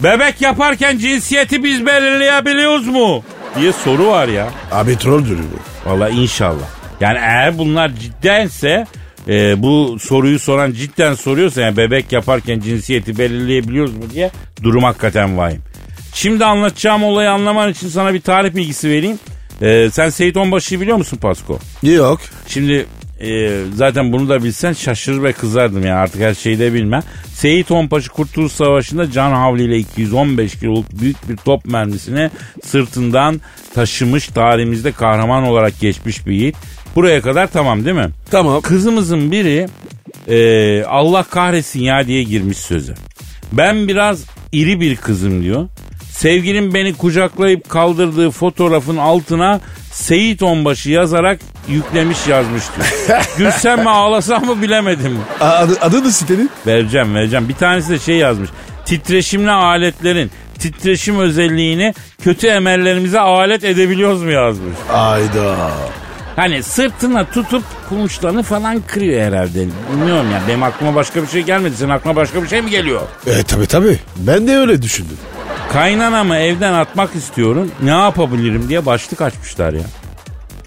[SPEAKER 2] Bebek yaparken cinsiyeti biz belirleyebiliyoruz mu? Diye soru var ya.
[SPEAKER 3] Abi troll dönüyor bu.
[SPEAKER 2] Valla inşallah. Yani eğer bunlar ciddense e, bu soruyu soran cidden soruyorsa yani bebek yaparken cinsiyeti belirleyebiliyoruz mu diye durum hakikaten vahim. Şimdi anlatacağım olayı anlaman için sana bir tarih bilgisi vereyim. E, sen Seyit Onbaşı'yı biliyor musun Pasko?
[SPEAKER 3] Yok.
[SPEAKER 2] Şimdi e, zaten bunu da bilsen şaşırır ve kızardım yani artık her şeyi de bilmem. Seyit Onbaşı Kurtuluş Savaşı'nda can havliyle 215 kiloluk büyük bir top mermisini sırtından taşımış tarihimizde kahraman olarak geçmiş bir yiğit. Buraya kadar tamam değil mi?
[SPEAKER 3] Tamam.
[SPEAKER 2] Kızımızın biri e, Allah kahretsin ya diye girmiş sözü. Ben biraz iri bir kızım diyor. Sevgilim beni kucaklayıp kaldırdığı fotoğrafın altına Seyit Onbaşı yazarak yüklemiş yazmış diyor. Gülsem mi ağlasam mı bilemedim.
[SPEAKER 3] A- adı, adı da sitenin?
[SPEAKER 2] Vereceğim vereceğim. Bir tanesi de şey yazmış. Titreşimli aletlerin titreşim özelliğini kötü emellerimize alet edebiliyoruz mu yazmış.
[SPEAKER 3] Ayda.
[SPEAKER 2] Hani sırtına tutup kumuşlarını falan kırıyor herhalde. Bilmiyorum ya benim aklıma başka bir şey gelmedi. Senin aklına başka bir şey mi geliyor?
[SPEAKER 3] E tabi tabi. Ben de öyle düşündüm.
[SPEAKER 2] Kaynanamı evden atmak istiyorum. Ne yapabilirim diye başlık açmışlar ya.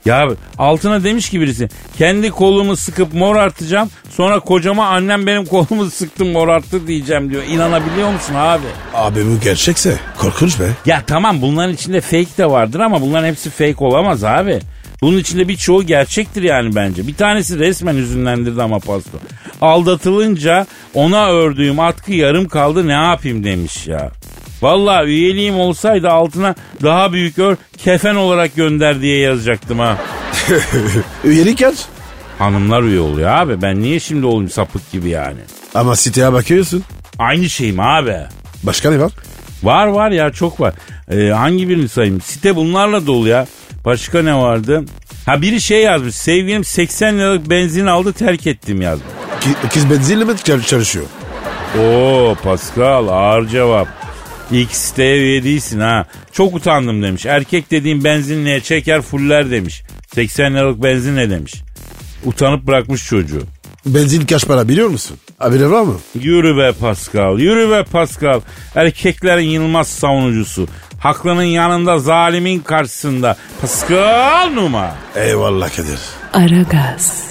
[SPEAKER 2] Ya altına demiş ki birisi kendi kolumu sıkıp mor artacağım sonra kocama annem benim kolumu sıktı mor arttı diyeceğim diyor. İnanabiliyor musun abi?
[SPEAKER 3] Abi bu gerçekse korkunç be.
[SPEAKER 2] Ya tamam bunların içinde fake de vardır ama bunların hepsi fake olamaz abi. Bunun içinde birçoğu gerçektir yani bence. Bir tanesi resmen hüzünlendirdi ama pasto. Aldatılınca ona ördüğüm atkı yarım kaldı ne yapayım demiş ya. Vallahi üyeliğim olsaydı altına daha büyük ör kefen olarak gönder diye yazacaktım ha.
[SPEAKER 3] Üyelik aç.
[SPEAKER 2] Hanımlar üye oluyor abi. Ben niye şimdi olayım sapık gibi yani?
[SPEAKER 3] Ama siteye bakıyorsun.
[SPEAKER 2] Aynı şeyim abi.
[SPEAKER 3] Başka ne var?
[SPEAKER 2] Var var ya çok var. Ee, hangi birini sayayım? Site bunlarla dolu ya. Başka ne vardı? Ha biri şey yazmış. Sevgilim 80 liralık benzin aldı terk ettim yazmış.
[SPEAKER 3] Ki, kız benzinle mi çal- çalışıyor?
[SPEAKER 2] Oo Pascal ağır cevap. X'te üye değilsin ha. Çok utandım demiş. Erkek dediğin benzinliğe çeker fuller demiş. 80 liralık benzin ne demiş. Utanıp bırakmış çocuğu.
[SPEAKER 3] Benzin kaç para biliyor musun? Haberi var mı?
[SPEAKER 2] Yürü be Pascal, yürü be Pascal. Erkeklerin yılmaz savunucusu. Haklının yanında, zalimin karşısında. Pascal Numa.
[SPEAKER 3] Eyvallah Kadir.
[SPEAKER 1] Aragaz.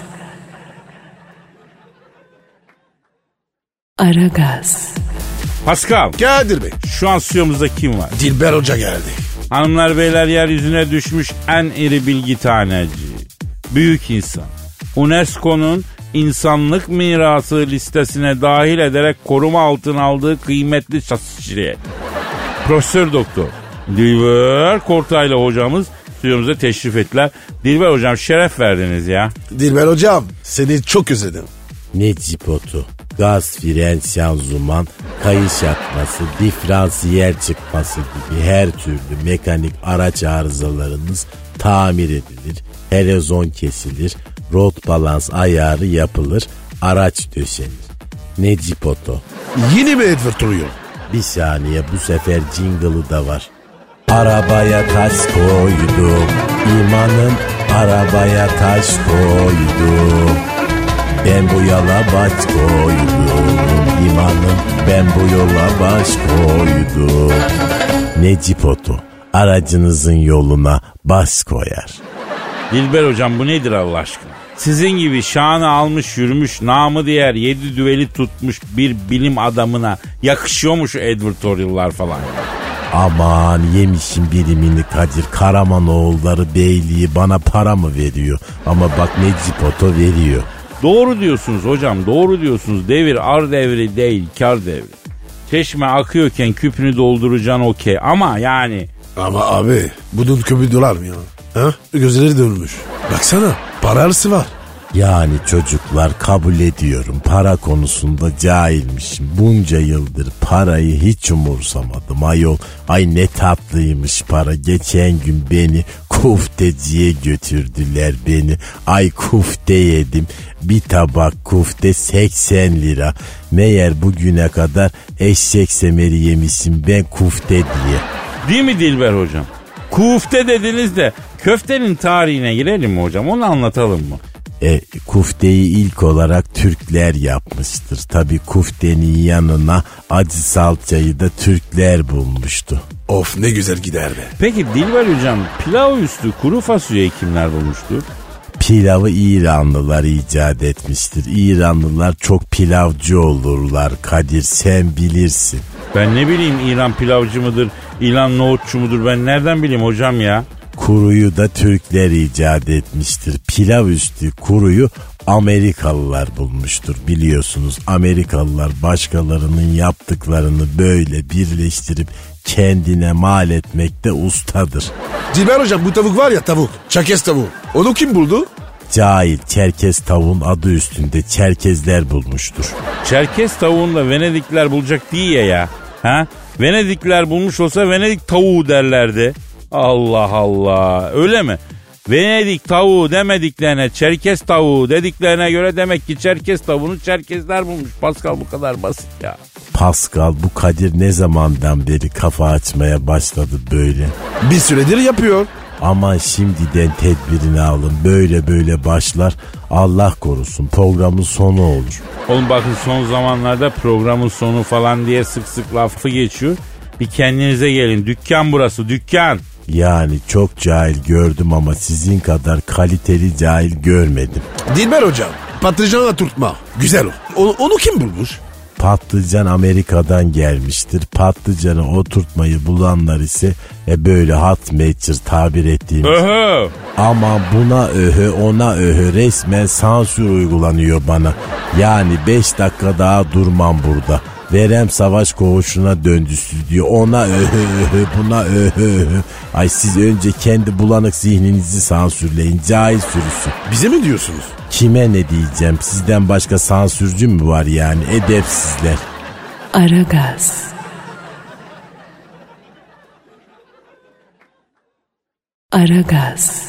[SPEAKER 1] Aragaz.
[SPEAKER 2] Pascal,
[SPEAKER 3] Kadir Bey.
[SPEAKER 2] şu an stüdyomuzda kim var?
[SPEAKER 3] Dilber Hoca geldi.
[SPEAKER 2] Hanımlar beyler yeryüzüne düşmüş en iri bilgi taneci. Büyük insan. UNESCO'nun insanlık mirası listesine dahil ederek koruma altına aldığı kıymetli şahsiyet. Profesör Doktor Dilber Kortaylı hocamız stüdyomuza teşrif ettiler. Dilber hocam şeref verdiniz ya.
[SPEAKER 3] Dilber Hocam seni çok özledim.
[SPEAKER 4] Ne cipotu, gaz fren şanzuman, kayış atması, diferansiyel çıkması gibi her türlü mekanik araç arızalarınız tamir edilir. Helezon kesilir, rot balans ayarı yapılır, araç döşenir. Ne cipoto.
[SPEAKER 3] Yeni mi Edward oluyor?
[SPEAKER 4] Bir saniye bu sefer jingle'ı da var. Arabaya taş koydum, imanım arabaya taş koydum. Ben bu yola baş koydum, imanım ben bu yola baş koydum. Necip Otu, aracınızın yoluna baş koyar.
[SPEAKER 2] Dilber hocam bu nedir Allah aşkına? Sizin gibi şanı almış yürümüş namı diğer yedi düveli tutmuş bir bilim adamına yakışıyor mu şu advertorial'lar falan?
[SPEAKER 4] Aman yemişim birimini Kadir Karamanoğulları Beyliği bana para mı veriyor? Ama bak Necip Otu veriyor.
[SPEAKER 2] Doğru diyorsunuz hocam doğru diyorsunuz. Devir ar devri değil kar devri. Çeşme akıyorken küpünü dolduracaksın okey ama yani
[SPEAKER 3] Ama abi bunun kömür dolar mı ya? Ha? Gözleri dönmüş. Baksana para arası var.
[SPEAKER 4] Yani çocuklar kabul ediyorum para konusunda cahilmişim. Bunca yıldır parayı hiç umursamadım ayol. Ay ne tatlıymış para. Geçen gün beni kufteciye götürdüler beni. Ay kufte yedim. Bir tabak kufte 80 lira. Meğer bugüne kadar eşek semeri yemişim ben kufte diye.
[SPEAKER 2] değil mi Dilber hocam? Kufte dediniz de köftenin tarihine girelim mi hocam onu anlatalım mı?
[SPEAKER 4] E, kufteyi ilk olarak Türkler yapmıştır. Tabi kuftenin yanına acı salçayı da Türkler bulmuştu.
[SPEAKER 3] Of ne güzel gider be.
[SPEAKER 2] Peki Dilber hocam pilav üstü kuru fasulyeyi kimler bulmuştu?
[SPEAKER 4] Pilavı İranlılar icat etmiştir. İranlılar çok pilavcı olurlar Kadir sen bilirsin.
[SPEAKER 2] Ben ne bileyim İran pilavcı mıdır, İran nohutçu mudur ben nereden bileyim hocam ya?
[SPEAKER 4] Kuruyu da Türkler icat etmiştir. Pilav üstü kuruyu Amerikalılar bulmuştur biliyorsunuz. Amerikalılar başkalarının yaptıklarını böyle birleştirip kendine mal etmekte ustadır.
[SPEAKER 3] Dilber Hocam bu tavuk var ya tavuk. Çakes tavuğu. Onu kim buldu?
[SPEAKER 4] Cahil Çerkez tavuğun adı üstünde Çerkezler bulmuştur.
[SPEAKER 2] Çerkes tavuğunu da Venedikler bulacak değil ya ya. Ha? Venedikler bulmuş olsa Venedik tavuğu derlerdi. Allah Allah öyle mi? Venedik tavuğu demediklerine Çerkes tavuğu dediklerine göre demek ki Çerkes tavuğunu Çerkesler bulmuş. Pascal bu kadar basit ya.
[SPEAKER 4] Pascal bu Kadir ne zamandan beri kafa açmaya başladı böyle.
[SPEAKER 3] Bir süredir yapıyor.
[SPEAKER 4] Aman şimdiden tedbirini alın böyle böyle başlar Allah korusun programın sonu olur.
[SPEAKER 2] Oğlum bakın son zamanlarda programın sonu falan diye sık sık lafı geçiyor. Bir kendinize gelin. Dükkan burası dükkan.
[SPEAKER 4] Yani çok cahil gördüm ama sizin kadar kaliteli cahil görmedim.
[SPEAKER 3] Dilber Hocam patlıcanla tutma. Güzel o. Onu, onu kim bulmuş?
[SPEAKER 4] Patlıcan Amerika'dan gelmiştir. Patlıcanı oturtmayı bulanlar ise e, böyle hot matcher tabir ettiğimiz
[SPEAKER 2] Öhö.
[SPEAKER 4] Ama buna öhü ona öhü resmen sansür uygulanıyor bana. Yani 5 dakika daha durmam burada.
[SPEAKER 5] Verem savaş koğuşuna döndü stüdyo. Ona öhö öhö buna öhö öhö. Ay siz önce kendi bulanık zihninizi sansürleyin. Cahil sürüsü.
[SPEAKER 3] Bize mi diyorsunuz?
[SPEAKER 5] Kime ne diyeceğim? Sizden başka sansürcü mü var yani? Edepsizler.
[SPEAKER 1] Aragaz. Aragaz.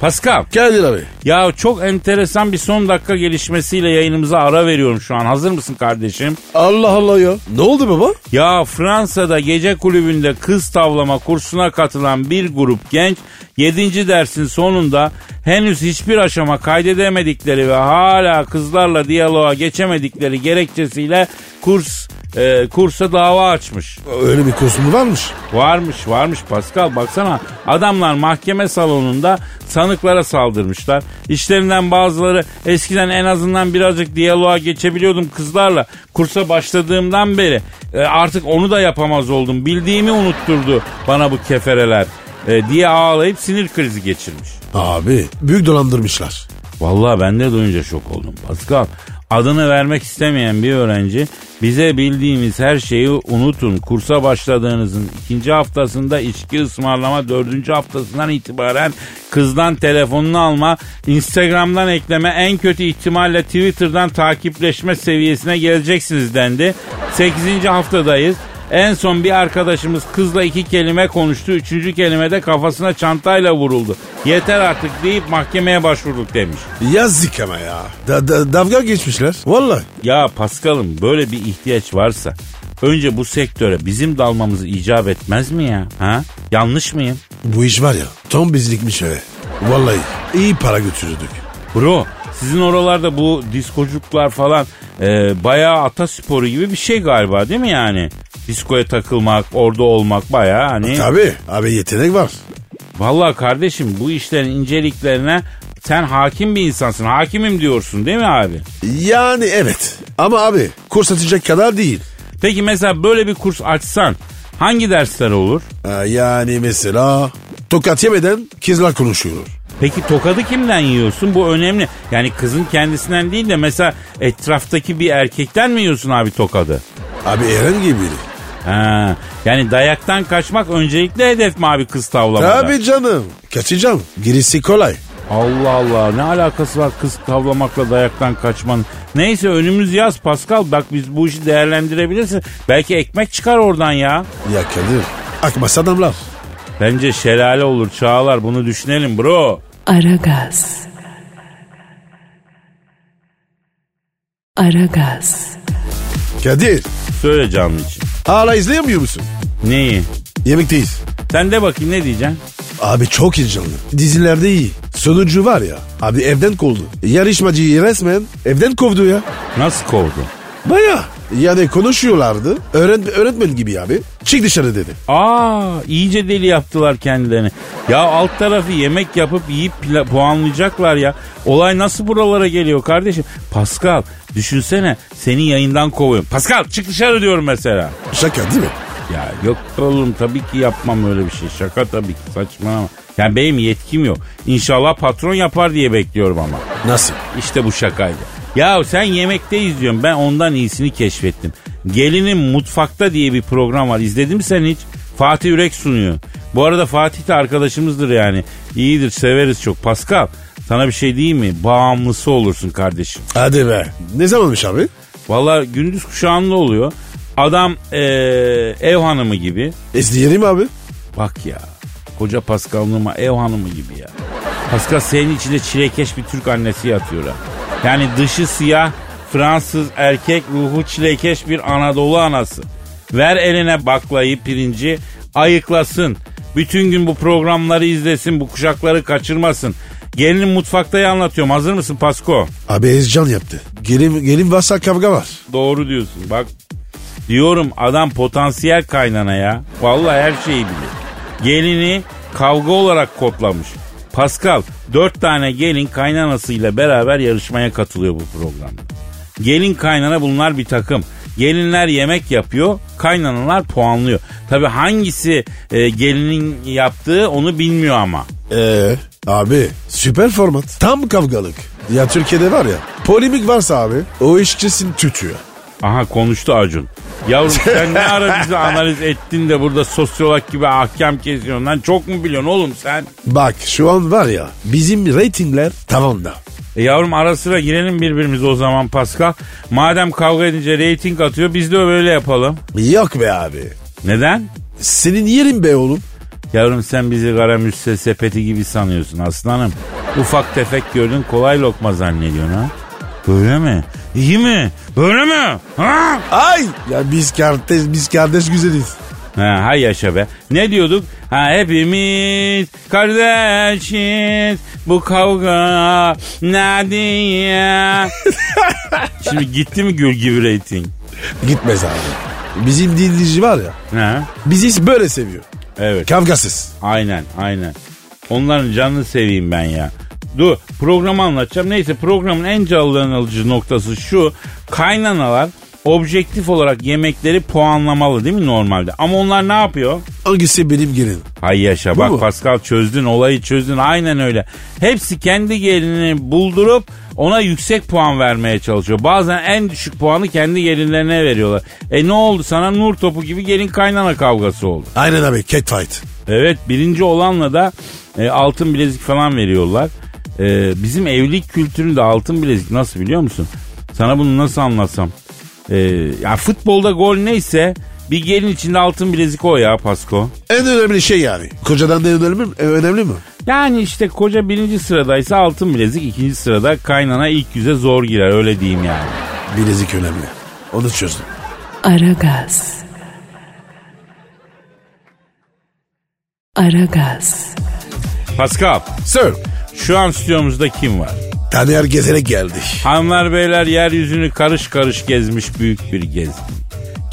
[SPEAKER 2] Pascal.
[SPEAKER 3] Kadir abi.
[SPEAKER 2] Ya çok enteresan bir son dakika gelişmesiyle yayınımıza ara veriyorum şu an. Hazır mısın kardeşim?
[SPEAKER 3] Allah Allah ya. Ne oldu baba?
[SPEAKER 2] Ya Fransa'da gece kulübünde kız tavlama kursuna katılan bir grup genç 7. dersin sonunda henüz hiçbir aşama kaydedemedikleri ve hala kızlarla diyaloğa geçemedikleri gerekçesiyle kurs e, kursa dava açmış.
[SPEAKER 3] Öyle bir kostümü varmış.
[SPEAKER 2] Varmış varmış Pascal baksana adamlar mahkeme salonunda sanıklara saldırmışlar. İşlerinden bazıları eskiden en azından birazcık diyaloğa geçebiliyordum kızlarla. Kursa başladığımdan beri e, artık onu da yapamaz oldum. Bildiğimi unutturdu bana bu kefereler e, diye ağlayıp sinir krizi geçirmiş.
[SPEAKER 3] Abi büyük dolandırmışlar.
[SPEAKER 2] Vallahi ben de duyunca şok oldum Pascal. Adını vermek istemeyen bir öğrenci bize bildiğimiz her şeyi unutun. Kursa başladığınızın ikinci haftasında içki ısmarlama, dördüncü haftasından itibaren kızdan telefonunu alma, Instagram'dan ekleme, en kötü ihtimalle Twitter'dan takipleşme seviyesine geleceksiniz dendi. Sekizinci haftadayız. En son bir arkadaşımız kızla iki kelime konuştu. Üçüncü kelimede kafasına çantayla vuruldu. Yeter artık deyip mahkemeye başvurduk demiş.
[SPEAKER 3] Yazık ama ya. Da, da- davga geçmişler. Vallahi.
[SPEAKER 2] Ya Paskal'ım böyle bir ihtiyaç varsa önce bu sektöre bizim dalmamız icap etmez mi ya? Ha? Yanlış mıyım?
[SPEAKER 3] Bu iş var ya tam bizlikmiş he. Vallahi iyi para götürürdük.
[SPEAKER 2] Bro sizin oralarda bu diskocuklar falan e, bayağı atasporu gibi bir şey galiba değil mi yani? Diskoya takılmak, orada olmak bayağı hani...
[SPEAKER 3] Tabii abi yetenek var.
[SPEAKER 2] Vallahi kardeşim bu işlerin inceliklerine sen hakim bir insansın. Hakimim diyorsun değil mi abi?
[SPEAKER 3] Yani evet. Ama abi kurs atacak kadar değil.
[SPEAKER 2] Peki mesela böyle bir kurs açsan hangi dersler olur?
[SPEAKER 3] Ha, yani mesela tokat yemeden kızlar konuşuyor.
[SPEAKER 2] Peki tokadı kimden yiyorsun? Bu önemli. Yani kızın kendisinden değil de mesela etraftaki bir erkekten mi yiyorsun abi tokadı?
[SPEAKER 3] Abi Eren gibi biri.
[SPEAKER 2] Ha, yani dayaktan kaçmak öncelikli hedef mi abi kız tavlamada?
[SPEAKER 3] Abi canım. Kaçacağım. Girisi kolay.
[SPEAKER 2] Allah Allah ne alakası var kız tavlamakla dayaktan kaçmanın. Neyse önümüz yaz Pascal bak biz bu işi değerlendirebilirsin. Belki ekmek çıkar oradan ya.
[SPEAKER 3] Ya Kadir. Akmasa adamlar.
[SPEAKER 2] Bence şelale olur Çağlar bunu düşünelim bro.
[SPEAKER 1] Aragaz. Aragaz.
[SPEAKER 3] Kadir.
[SPEAKER 2] Söyle canlı için.
[SPEAKER 3] Hala izleyemiyor musun?
[SPEAKER 2] Neyi?
[SPEAKER 3] Yemekteyiz.
[SPEAKER 2] Sen de bakayım ne diyeceksin?
[SPEAKER 3] Abi çok heyecanlı. Dizilerde iyi. Sonucu var ya. Abi evden kovdu. Yarışmacıyı resmen evden kovdu ya.
[SPEAKER 2] Nasıl kovdu?
[SPEAKER 3] Baya. Yani konuşuyorlardı. Öğren, öğretmen gibi abi. Çık dışarı dedi.
[SPEAKER 2] Aa iyice deli yaptılar kendilerini. Ya alt tarafı yemek yapıp yiyip pla- puanlayacaklar ya. Olay nasıl buralara geliyor kardeşim? Pascal düşünsene seni yayından kovuyorum. Pascal çık dışarı diyorum mesela.
[SPEAKER 3] Şaka değil mi?
[SPEAKER 2] Ya yok oğlum tabii ki yapmam öyle bir şey. Şaka tabii ki saçmalama. Yani benim yetkim yok. İnşallah patron yapar diye bekliyorum ama.
[SPEAKER 3] Nasıl?
[SPEAKER 2] İşte bu şakaydı. Ya sen yemekte izliyorsun. Ben ondan iyisini keşfettim. Gelinin Mutfakta diye bir program var. İzledin mi sen hiç? Fatih Ürek sunuyor. Bu arada Fatih de arkadaşımızdır yani. İyidir severiz çok. Pascal sana bir şey diyeyim mi? Bağımlısı olursun kardeşim.
[SPEAKER 3] Hadi be. Ne zamanmış abi?
[SPEAKER 2] Valla gündüz kuşağında oluyor. Adam eee, ev hanımı gibi.
[SPEAKER 3] İzleyelim abi.
[SPEAKER 2] Bak ya. Koca Paskal'ıma ev hanımı gibi ya. Paskal senin içinde çilekeş bir Türk annesi yatıyor ha. Yani dışı siyah Fransız erkek ruhu çilekeş bir Anadolu anası. Ver eline baklayı pirinci ayıklasın. Bütün gün bu programları izlesin bu kuşakları kaçırmasın. Gelinin mutfaktayı anlatıyorum hazır mısın Pasko?
[SPEAKER 3] Abi heyecan yaptı. Gelin, gelin varsa kavga var.
[SPEAKER 2] Doğru diyorsun bak. Diyorum adam potansiyel kaynana ya. Vallahi her şeyi biliyor. Gelini kavga olarak kodlamış. Pascal dört tane gelin kaynanasıyla beraber yarışmaya katılıyor bu programda. Gelin kaynana bunlar bir takım. Gelinler yemek yapıyor, kaynanalar puanlıyor. Tabi hangisi e, gelinin yaptığı onu bilmiyor ama.
[SPEAKER 3] Ee, abi süper format. Tam kavgalık. Ya Türkiye'de var ya polemik varsa abi o işçisin tütüyor.
[SPEAKER 2] Aha konuştu Acun. Yavrum sen ne ara bizi analiz ettin de burada sosyolog gibi ahkam kesiyorsun lan. Çok mu biliyorsun oğlum sen?
[SPEAKER 3] Bak şu an var ya bizim reytingler tavanda.
[SPEAKER 2] E yavrum ara sıra girelim birbirimize o zaman Pascal. Madem kavga edince reyting atıyor biz de öyle yapalım.
[SPEAKER 3] Yok be abi.
[SPEAKER 2] Neden?
[SPEAKER 3] Senin yerin be oğlum.
[SPEAKER 2] Yavrum sen bizi kara müsse sepeti gibi sanıyorsun aslanım. Ufak tefek gördün kolay lokma zannediyorsun ha. Öyle mi? İyi mi? Öyle mi? Ha?
[SPEAKER 3] Ay ya biz kardeş biz kardeş güzeliz.
[SPEAKER 2] Ha, hay yaşa be. Ne diyorduk? Ha hepimiz kardeşiz. Bu kavga ne diye. Şimdi gitti mi gül gibi reyting?
[SPEAKER 3] Gitmez abi. Bizim dinleyici var ya
[SPEAKER 2] Ha?
[SPEAKER 3] bizi böyle seviyor.
[SPEAKER 2] Evet.
[SPEAKER 3] Kavgasız.
[SPEAKER 2] Aynen aynen. Onların canını seveyim ben ya. Dur programı anlatacağım. Neyse programın en canlı alıcı noktası şu. Kaynanalar objektif olarak yemekleri puanlamalı değil mi normalde? Ama onlar ne yapıyor?
[SPEAKER 3] Hangisi benim gelin?
[SPEAKER 2] Hay yaşa
[SPEAKER 3] Bu
[SPEAKER 2] bak
[SPEAKER 3] mu?
[SPEAKER 2] Pascal çözdün olayı çözdün aynen öyle. Hepsi kendi gelini buldurup ona yüksek puan vermeye çalışıyor. Bazen en düşük puanı kendi gelinlerine veriyorlar. E ne oldu sana nur topu gibi gelin kaynana kavgası oldu.
[SPEAKER 3] Aynen abi catfight.
[SPEAKER 2] Evet birinci olanla da e, altın bilezik falan veriyorlar. E, bizim evlilik kültüründe altın bilezik nasıl biliyor musun? Sana bunu nasıl anlatsam? E, ya futbolda gol neyse bir gelin içinde altın bilezik o ya Pasko.
[SPEAKER 3] En önemli şey yani. Kocadan da önemli mi? E, Önemli mi?
[SPEAKER 2] Yani işte koca birinci sıradaysa altın bilezik ikinci sırada kaynana ilk yüze zor girer öyle diyeyim yani.
[SPEAKER 3] Bilezik önemli. Onu çözdüm.
[SPEAKER 1] Aragaz. Aragaz.
[SPEAKER 2] Pascal
[SPEAKER 3] Sir.
[SPEAKER 2] şu an stüdyomuzda kim var?
[SPEAKER 3] Taner gezerek geldi.
[SPEAKER 2] Hanımlar beyler yeryüzünü karış karış gezmiş büyük bir gezgin.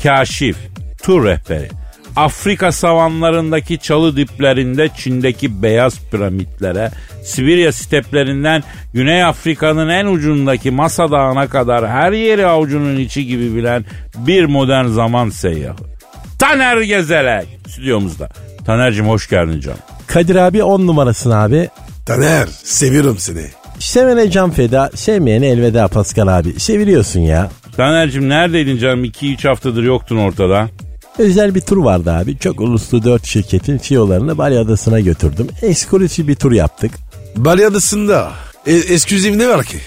[SPEAKER 2] Kaşif, tur rehberi. Afrika savanlarındaki çalı diplerinde Çin'deki beyaz piramitlere, Sibirya steplerinden Güney Afrika'nın en ucundaki Masa Dağı'na kadar her yeri avucunun içi gibi bilen bir modern zaman seyyahı. Taner Gezelek stüdyomuzda. Taner'cim hoş geldin canım.
[SPEAKER 4] Kadir abi on numarasın abi.
[SPEAKER 3] Taner seviyorum seni.
[SPEAKER 4] Sevene can feda, sevmeyene elveda Pascal abi. Seviliyorsun ya.
[SPEAKER 2] Taner'cim neredeydin canım? 2-3 haftadır yoktun ortada.
[SPEAKER 4] Özel bir tur vardı abi. Çok uluslu dört şirketin CEO'larını Bali Adası'na götürdüm. Ekskursif bir tur yaptık.
[SPEAKER 3] Bali Adası'nda e, exclusive ne var ki?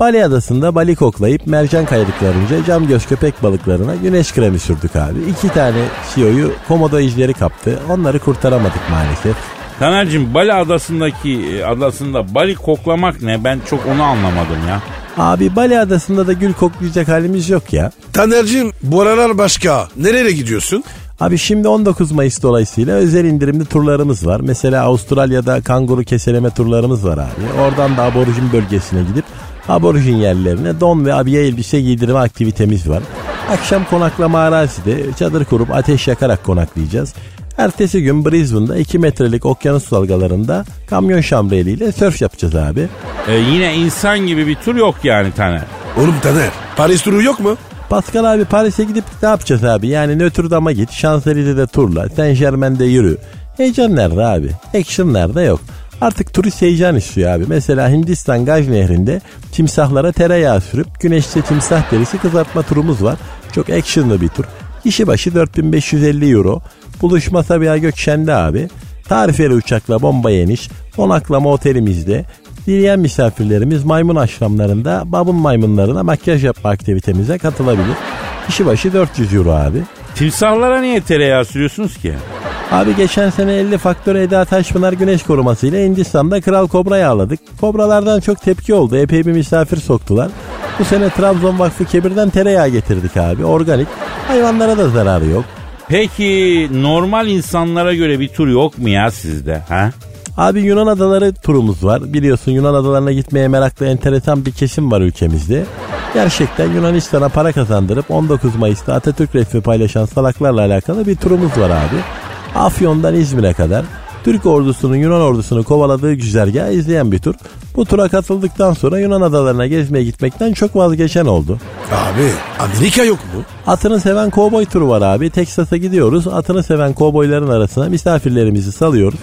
[SPEAKER 4] Bali Adası'nda balık koklayıp mercan kayalıklarınca cam göz köpek balıklarına güneş kremi sürdük abi. İki tane CEO'yu komodo izleri kaptı. Onları kurtaramadık maalesef.
[SPEAKER 2] Taner'cim Bali adasındaki e, adasında Bali koklamak ne? Ben çok onu anlamadım ya.
[SPEAKER 4] Abi Bali Adası'nda da gül koklayacak halimiz yok ya.
[SPEAKER 3] Taner'cim bu aralar başka. Nereye gidiyorsun?
[SPEAKER 4] Abi şimdi 19 Mayıs dolayısıyla özel indirimli turlarımız var. Mesela Avustralya'da kanguru keseleme turlarımız var abi. Oradan da aborjin bölgesine gidip aborjin yerlerine don ve abiye elbise giydirme aktivitemiz var. Akşam konaklama arazide çadır kurup ateş yakarak konaklayacağız. Ertesi gün Brisbane'da 2 metrelik okyanus dalgalarında kamyon şamreliyle sörf yapacağız abi.
[SPEAKER 2] E, yine insan gibi bir tur yok yani Taner.
[SPEAKER 3] Oğlum Taner Paris turu yok mu?
[SPEAKER 4] Pascal abi Paris'e gidip ne yapacağız abi? Yani Notre Dame'a git, Şanzelize'de turla, Saint Germain'de yürü. Heyecan nerede abi? Action nerede yok? Artık turist heyecan istiyor abi. Mesela Hindistan Gaj Nehri'nde timsahlara tereyağı sürüp güneşte timsah derisi kızartma turumuz var. Çok actionlı bir tur. Kişi başı 4550 euro. Buluşma Sabiha Gökşen'de abi. Tarifeli uçakla bomba yeniş. Konaklama otelimizde. Dileyen misafirlerimiz maymun aşramlarında babun maymunlarına makyaj yapma aktivitemize katılabilir. Kişi başı 400 euro abi.
[SPEAKER 2] Timsahlara niye tereyağı sürüyorsunuz ki?
[SPEAKER 4] Abi geçen sene 50 faktör Eda Taşpınar güneş koruması ile Hindistan'da kral kobra yağladık. Kobralardan çok tepki oldu. Epey bir misafir soktular. Bu sene Trabzon Vakfı Kebir'den tereyağı getirdik abi. Organik. Hayvanlara da zararı yok.
[SPEAKER 2] Peki normal insanlara göre bir tur yok mu ya sizde? Ha?
[SPEAKER 4] Abi Yunan adaları turumuz var. Biliyorsun Yunan adalarına gitmeye meraklı enteresan bir kesim var ülkemizde. Gerçekten Yunanistan'a para kazandırıp 19 Mayıs'ta Atatürk resmi paylaşan salaklarla alakalı bir turumuz var abi. Afyon'dan İzmir'e kadar Türk ordusunun Yunan ordusunu kovaladığı güzergahı izleyen bir tur. Bu tura katıldıktan sonra Yunan adalarına gezmeye gitmekten çok vazgeçen oldu.
[SPEAKER 3] Abi Amerika yok mu?
[SPEAKER 4] Atını seven kovboy turu var abi. Texas'a gidiyoruz. Atını seven kovboyların arasına misafirlerimizi salıyoruz.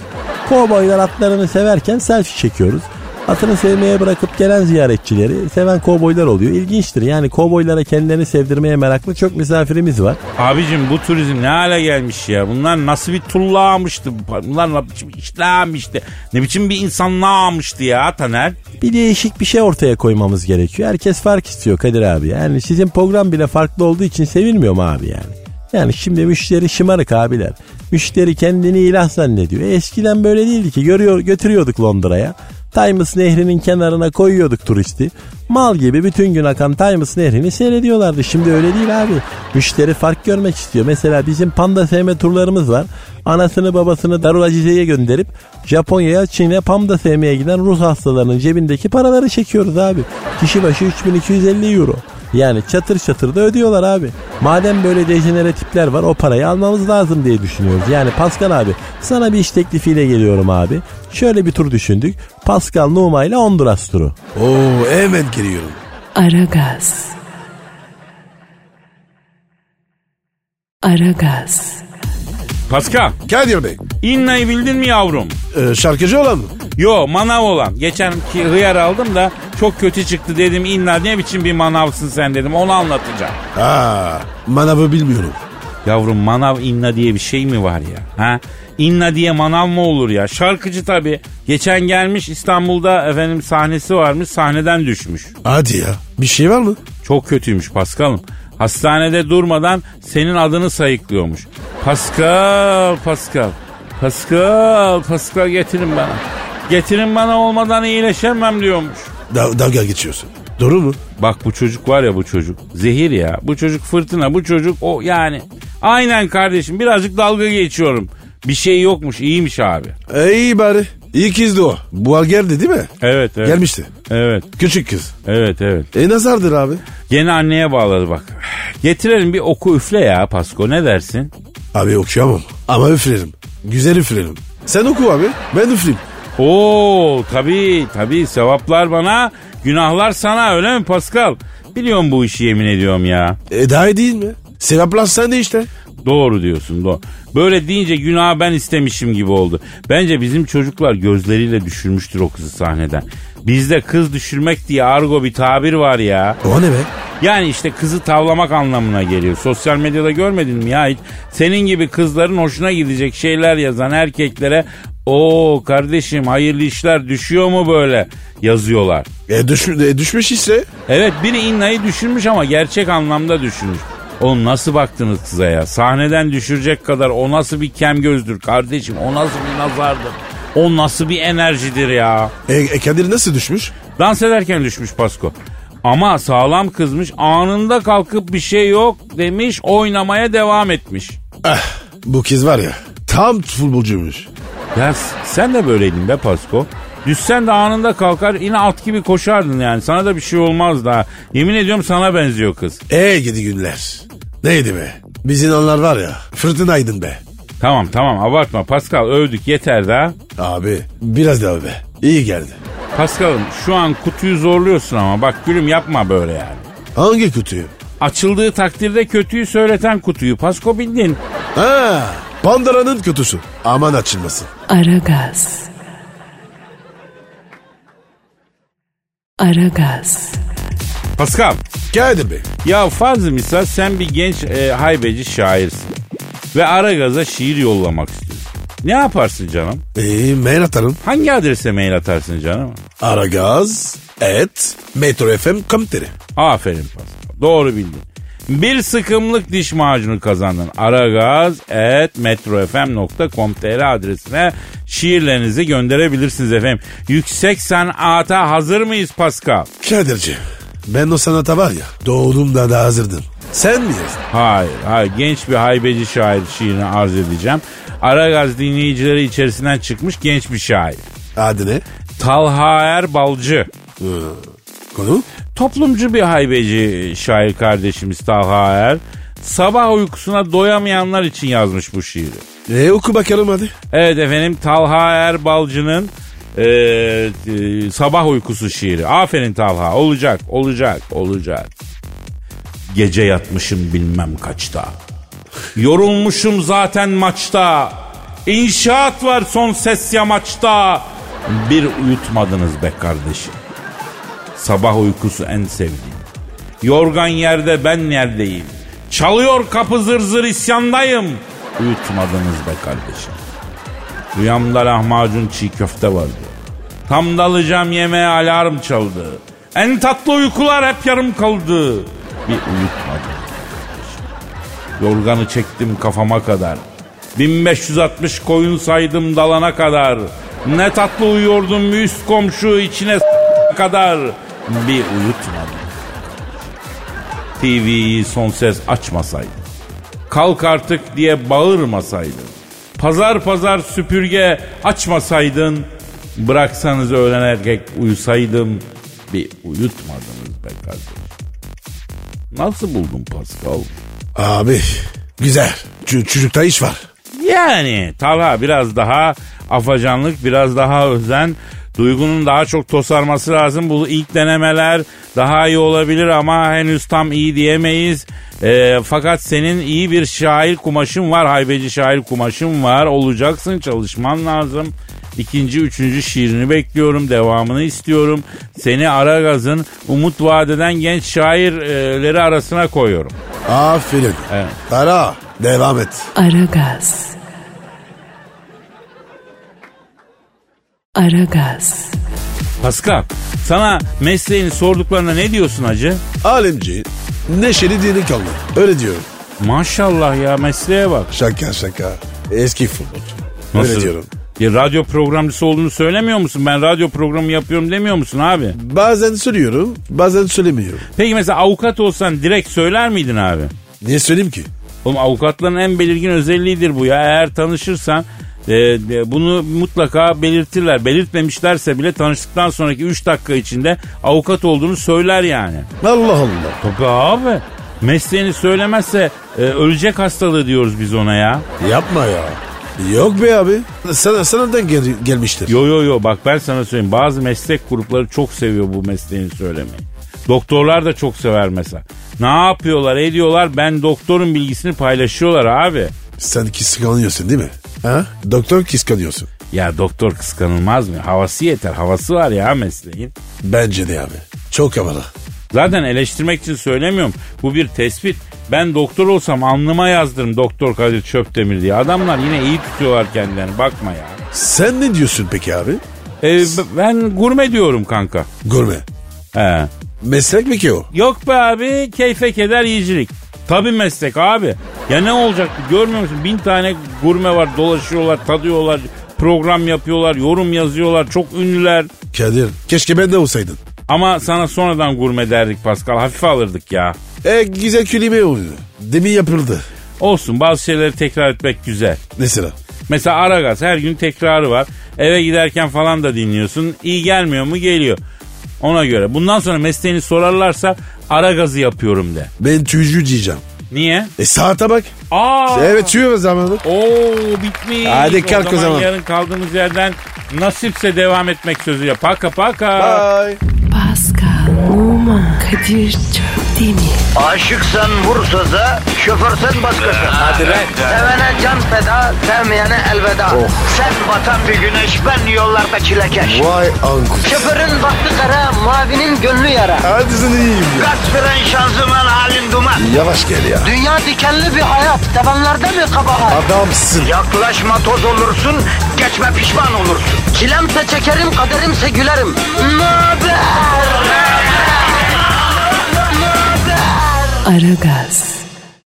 [SPEAKER 4] Kovboylar atlarını severken selfie çekiyoruz. Atını sevmeye bırakıp gelen ziyaretçileri seven kovboylar oluyor. İlginçtir yani kovboylara kendilerini sevdirmeye meraklı çok misafirimiz var.
[SPEAKER 2] Abicim bu turizm ne hale gelmiş ya? Bunlar nasıl bir tullağmıştı? Bunlar ne biçim işlağmıştı? Ne biçim bir insanlığa ya Taner?
[SPEAKER 4] Bir değişik bir şey ortaya koymamız gerekiyor. Herkes fark istiyor Kadir abi. Yani sizin program bile farklı olduğu için sevilmiyor mu abi yani? Yani şimdi müşteri şımarık abiler. Müşteri kendini ilah zannediyor. E eskiden böyle değildi ki. Görüyor, götürüyorduk Londra'ya. Times Nehri'nin kenarına koyuyorduk turisti. Mal gibi bütün gün akan Times Nehri'ni seyrediyorlardı. Şimdi öyle değil abi. Müşteri fark görmek istiyor. Mesela bizim panda sevme turlarımız var. Anasını babasını Darul Acize'ye gönderip Japonya'ya, Çin'e panda sevmeye giden Rus hastalarının cebindeki paraları çekiyoruz abi. Kişi başı 3250 euro. Yani çatır çatır da ödüyorlar abi. Madem böyle dejenere tipler var o parayı almamız lazım diye düşünüyoruz. Yani Pascal abi sana bir iş teklifiyle geliyorum abi. Şöyle bir tur düşündük. Pascal Numa ile Honduras turu.
[SPEAKER 3] Oo hemen geliyorum.
[SPEAKER 1] Aragaz. Aragaz.
[SPEAKER 2] Pascal,
[SPEAKER 3] Kadir Bey.
[SPEAKER 2] İnna'yı bildin mi yavrum?
[SPEAKER 3] e, şarkıcı olan mı?
[SPEAKER 2] Yo manav olan. Geçen ki hıyar aldım da çok kötü çıktı dedim. İnna ne biçim bir manavsın sen dedim. Onu anlatacağım.
[SPEAKER 3] Ha, manavı bilmiyorum.
[SPEAKER 2] Yavrum manav inna diye bir şey mi var ya? Ha? İnna diye manav mı olur ya? Şarkıcı tabii. Geçen gelmiş İstanbul'da efendim sahnesi varmış. Sahneden düşmüş.
[SPEAKER 3] Hadi ya. Bir şey var mı?
[SPEAKER 2] Çok kötüymüş Paskal'ım. Hastanede durmadan senin adını sayıklıyormuş. Pascal, Pascal. Pascal, Pascal getirin bana. Getirin bana olmadan iyileşemem diyormuş.
[SPEAKER 3] Da- dalga geçiyorsun. Doğru mu?
[SPEAKER 2] Bak bu çocuk var ya bu çocuk. Zehir ya. Bu çocuk fırtına. Bu çocuk o yani. Aynen kardeşim birazcık dalga geçiyorum. Bir şey yokmuş iyiymiş abi.
[SPEAKER 3] E, iyi bari. İyi kızdı o. Bu geldi değil mi?
[SPEAKER 2] Evet evet.
[SPEAKER 3] Gelmişti.
[SPEAKER 2] Evet
[SPEAKER 3] Küçük kız.
[SPEAKER 2] evet evet.
[SPEAKER 3] E nazardır abi.
[SPEAKER 2] Yeni anneye bağladı bak. Getirelim bir oku üfle ya Pasko ne dersin?
[SPEAKER 3] Abi okuyamam. Ama üflerim. Güzel üflerim. Sen oku abi. Ben üfleyeyim.
[SPEAKER 2] Oo tabii tabii sevaplar bana günahlar sana öyle mi Pascal? Biliyorum bu işi yemin ediyorum ya.
[SPEAKER 3] E daha iyi değil mi? Sevaplar sende işte.
[SPEAKER 2] Doğru diyorsun doğru. Böyle deyince günah ben istemişim gibi oldu. Bence bizim çocuklar gözleriyle düşürmüştür o kızı sahneden. Bizde kız düşürmek diye argo bir tabir var ya.
[SPEAKER 3] O ne be?
[SPEAKER 2] Yani işte kızı tavlamak anlamına geliyor. Sosyal medyada görmedin mi ya hiç? Senin gibi kızların hoşuna gidecek şeyler yazan erkeklere o kardeşim hayırlı işler düşüyor mu böyle yazıyorlar.
[SPEAKER 3] E, düş, e, düşmüş ise
[SPEAKER 2] Evet biri İnna'yı düşürmüş ama gerçek anlamda düşürmüş. Oğlum nasıl baktınız kıza ya? Sahneden düşürecek kadar o nasıl bir kem gözdür kardeşim? O nasıl bir nazardır? O nasıl bir enerjidir ya?
[SPEAKER 3] e, e, Kadir nasıl düşmüş?
[SPEAKER 2] Dans ederken düşmüş Pasko. Ama sağlam kızmış anında kalkıp bir şey yok demiş oynamaya devam etmiş.
[SPEAKER 3] Ah, bu kız var ya tam futbolcuymuş.
[SPEAKER 2] Ya s- sen de böyleydin be Pasko. Düşsen de anında kalkar yine at gibi koşardın yani. Sana da bir şey olmaz da. Yemin ediyorum sana benziyor kız.
[SPEAKER 3] E gidi günler. Neydi be? Biz inanlar var ya fırtınaydın be.
[SPEAKER 2] Tamam tamam abartma Pascal övdük yeter daha.
[SPEAKER 3] Abi biraz daha be. İyi geldi.
[SPEAKER 2] Pascal'ım şu an kutuyu zorluyorsun ama bak gülüm yapma böyle yani.
[SPEAKER 3] Hangi kutuyu?
[SPEAKER 2] Açıldığı takdirde kötüyü söyleten kutuyu Pasko bildin.
[SPEAKER 3] Ha, Pandora'nın kutusu. Aman açılmasın.
[SPEAKER 1] Aragaz. Aragaz.
[SPEAKER 2] Pascal
[SPEAKER 3] Kadir Bey.
[SPEAKER 2] ya fazla misal sen bir genç e, haybeci şairsin. Ve Aragaz'a şiir yollamak istiyorsun. Ne yaparsın canım?
[SPEAKER 3] E, mail atarım.
[SPEAKER 2] Hangi adrese mail atarsın canım?
[SPEAKER 3] Aragaz et metrofm.com.tr
[SPEAKER 2] Aferin Pascal. Doğru bildin. Bir sıkımlık diş macunu kazandın. aragaz.metrofm.com.tr adresine şiirlerinizi gönderebilirsiniz efendim. Yüksek sanata hazır mıyız Pascal?
[SPEAKER 3] Kadir'ciğim ben o sanata var ya doğduğumda da hazırdım. Sen mi yazdın?
[SPEAKER 2] Hayır, hayır. Genç bir haybeci şair şiirini arz edeceğim. Aragaz dinleyicileri içerisinden çıkmış genç bir şair.
[SPEAKER 3] Adı ne?
[SPEAKER 2] Talha Er Balcı.
[SPEAKER 3] Konu?
[SPEAKER 2] Toplumcu bir haybeci şair kardeşimiz Talha Er. Sabah uykusuna doyamayanlar için yazmış bu şiiri.
[SPEAKER 3] E, oku bakalım hadi.
[SPEAKER 2] Evet efendim Talha Erbalcı'nın e, e, sabah uykusu şiiri. Aferin Talha olacak olacak olacak. Gece yatmışım bilmem kaçta. Yorulmuşum zaten maçta. İnşaat var son ses yamaçta. Bir uyutmadınız be kardeşim. Sabah uykusu en sevdiğim. Yorgan yerde ben neredeyim? Çalıyor kapı zır zır isyandayım. Uyutmadınız be kardeşim. Rüyamda lahmacun çiğ köfte vardı. Tam dalacağım yemeğe alarm çaldı. En tatlı uykular hep yarım kaldı. Bir uyutmadım. Yorganı çektim kafama kadar. 1560 koyun saydım dalana kadar. Ne tatlı uyuyordum üst komşu içine s- kadar. Bir uyutmadım. TV'yi son ses açmasaydım. Kalk artık diye bağırmasaydın. Pazar pazar süpürge açmasaydın. Bıraksanız öğlen erkek uyusaydım. Bir uyutmadınız be kardeşim. Nasıl buldun Pascal?
[SPEAKER 3] Abi güzel. Ç- çocukta iş var.
[SPEAKER 2] Yani Talha biraz daha afacanlık, biraz daha özen, duygunun daha çok tosarması lazım. Bu ilk denemeler daha iyi olabilir ama henüz tam iyi diyemeyiz. Ee, fakat senin iyi bir şair kumaşın var, haybeci şair kumaşın var. Olacaksın, çalışman lazım. İkinci, üçüncü şiirini bekliyorum. Devamını istiyorum. Seni Aragaz'ın umut vadeden genç şairleri arasına koyuyorum.
[SPEAKER 3] Aferin.
[SPEAKER 2] Evet.
[SPEAKER 3] Tara devam et.
[SPEAKER 1] Aragaz. Aragaz.
[SPEAKER 2] Pascal sana mesleğini sorduklarına ne diyorsun acı?
[SPEAKER 3] Alemci neşeli dini kaldı. Öyle diyorum.
[SPEAKER 2] Maşallah ya mesleğe bak.
[SPEAKER 3] Şaka şaka. Eski futbolcu. Öyle diyorum.
[SPEAKER 2] Ya radyo programcısı olduğunu söylemiyor musun? Ben radyo programı yapıyorum demiyor musun abi?
[SPEAKER 3] Bazen söylüyorum bazen söylemiyorum.
[SPEAKER 2] Peki mesela avukat olsan direkt söyler miydin abi?
[SPEAKER 3] Niye söyleyeyim ki?
[SPEAKER 2] Oğlum avukatların en belirgin özelliğidir bu ya. Eğer tanışırsan e, e, bunu mutlaka belirtirler. Belirtmemişlerse bile tanıştıktan sonraki 3 dakika içinde avukat olduğunu söyler yani.
[SPEAKER 3] Allah Allah.
[SPEAKER 2] Tabii abi. Mesleğini söylemezse e, ölecek hastalığı diyoruz biz ona ya.
[SPEAKER 3] Yapma ya. Yok be abi. Sana, sanadan gel, gelmiştir.
[SPEAKER 2] Yo yo yo bak ben sana söyleyeyim bazı meslek grupları çok seviyor bu mesleğini söylemeyi. Doktorlar da çok sever mesela. Ne yapıyorlar ediyorlar ben doktorun bilgisini paylaşıyorlar abi.
[SPEAKER 3] Sen kıskanıyorsun değil mi? Ha? Doktor kıskanıyorsun.
[SPEAKER 2] Ya doktor kıskanılmaz mı? Havası yeter havası var ya mesleğin.
[SPEAKER 3] Bence de abi. Çok havalı.
[SPEAKER 2] Zaten eleştirmek için söylemiyorum. Bu bir tespit. Ben doktor olsam alnıma yazdırım doktor Kadir Çöptemir diye. Adamlar yine iyi tutuyorlar kendilerini bakma ya.
[SPEAKER 3] Sen ne diyorsun peki abi?
[SPEAKER 2] Ee, b- ben gurme diyorum kanka.
[SPEAKER 3] Gurme.
[SPEAKER 2] He.
[SPEAKER 3] Meslek mi ki o?
[SPEAKER 2] Yok be abi keyfe keder yiyicilik. Tabi meslek abi. Ya ne olacak görmüyor musun? Bin tane gurme var dolaşıyorlar tadıyorlar program yapıyorlar yorum yazıyorlar çok ünlüler.
[SPEAKER 3] Kadir keşke ben de olsaydın.
[SPEAKER 2] Ama sana sonradan gurme derdik Pascal hafife alırdık ya.
[SPEAKER 3] E güzel kelime oyunu. Demin yapıldı.
[SPEAKER 2] Olsun bazı şeyleri tekrar etmek güzel.
[SPEAKER 3] Mesela.
[SPEAKER 2] Mesela Aragaz her gün tekrarı var. Eve giderken falan da dinliyorsun. İyi gelmiyor mu geliyor. Ona göre. Bundan sonra mesleğini sorarlarsa Aragaz'ı yapıyorum de.
[SPEAKER 3] Ben tüycü diyeceğim.
[SPEAKER 2] Niye?
[SPEAKER 3] E saate bak.
[SPEAKER 2] Aa!
[SPEAKER 3] Evet tüyü zamanı.
[SPEAKER 2] Oo bitmiş.
[SPEAKER 3] Hadi kalk o zaman.
[SPEAKER 2] Yarın kaldığımız yerden nasipse devam etmek sözüyle. Paka paka.
[SPEAKER 3] Bye.
[SPEAKER 1] Pascal, Oman, Kadir çok değil mi?
[SPEAKER 6] Aşıksan vursa da, şoförsen başkasın. Hadi
[SPEAKER 2] lan.
[SPEAKER 6] Sevene can feda, sevmeyene elveda. Sen batan bir güneş, ben yollarda çilekeş.
[SPEAKER 3] Vay anku.
[SPEAKER 6] Şoförün baktı kara, mavinin gönlü yara.
[SPEAKER 3] Hadi sen iyiyim ya.
[SPEAKER 6] Kasperen şanzıman halin duman.
[SPEAKER 3] Yavaş gel ya.
[SPEAKER 6] Dünya dikenli bir hayat, sevenlerde mi kabahar?
[SPEAKER 3] Adamsın.
[SPEAKER 6] Yaklaşma toz olursun, geçme pişman olursun. Çilemse çekerim, kaderimse gülerim. Möber!
[SPEAKER 1] Aragaz.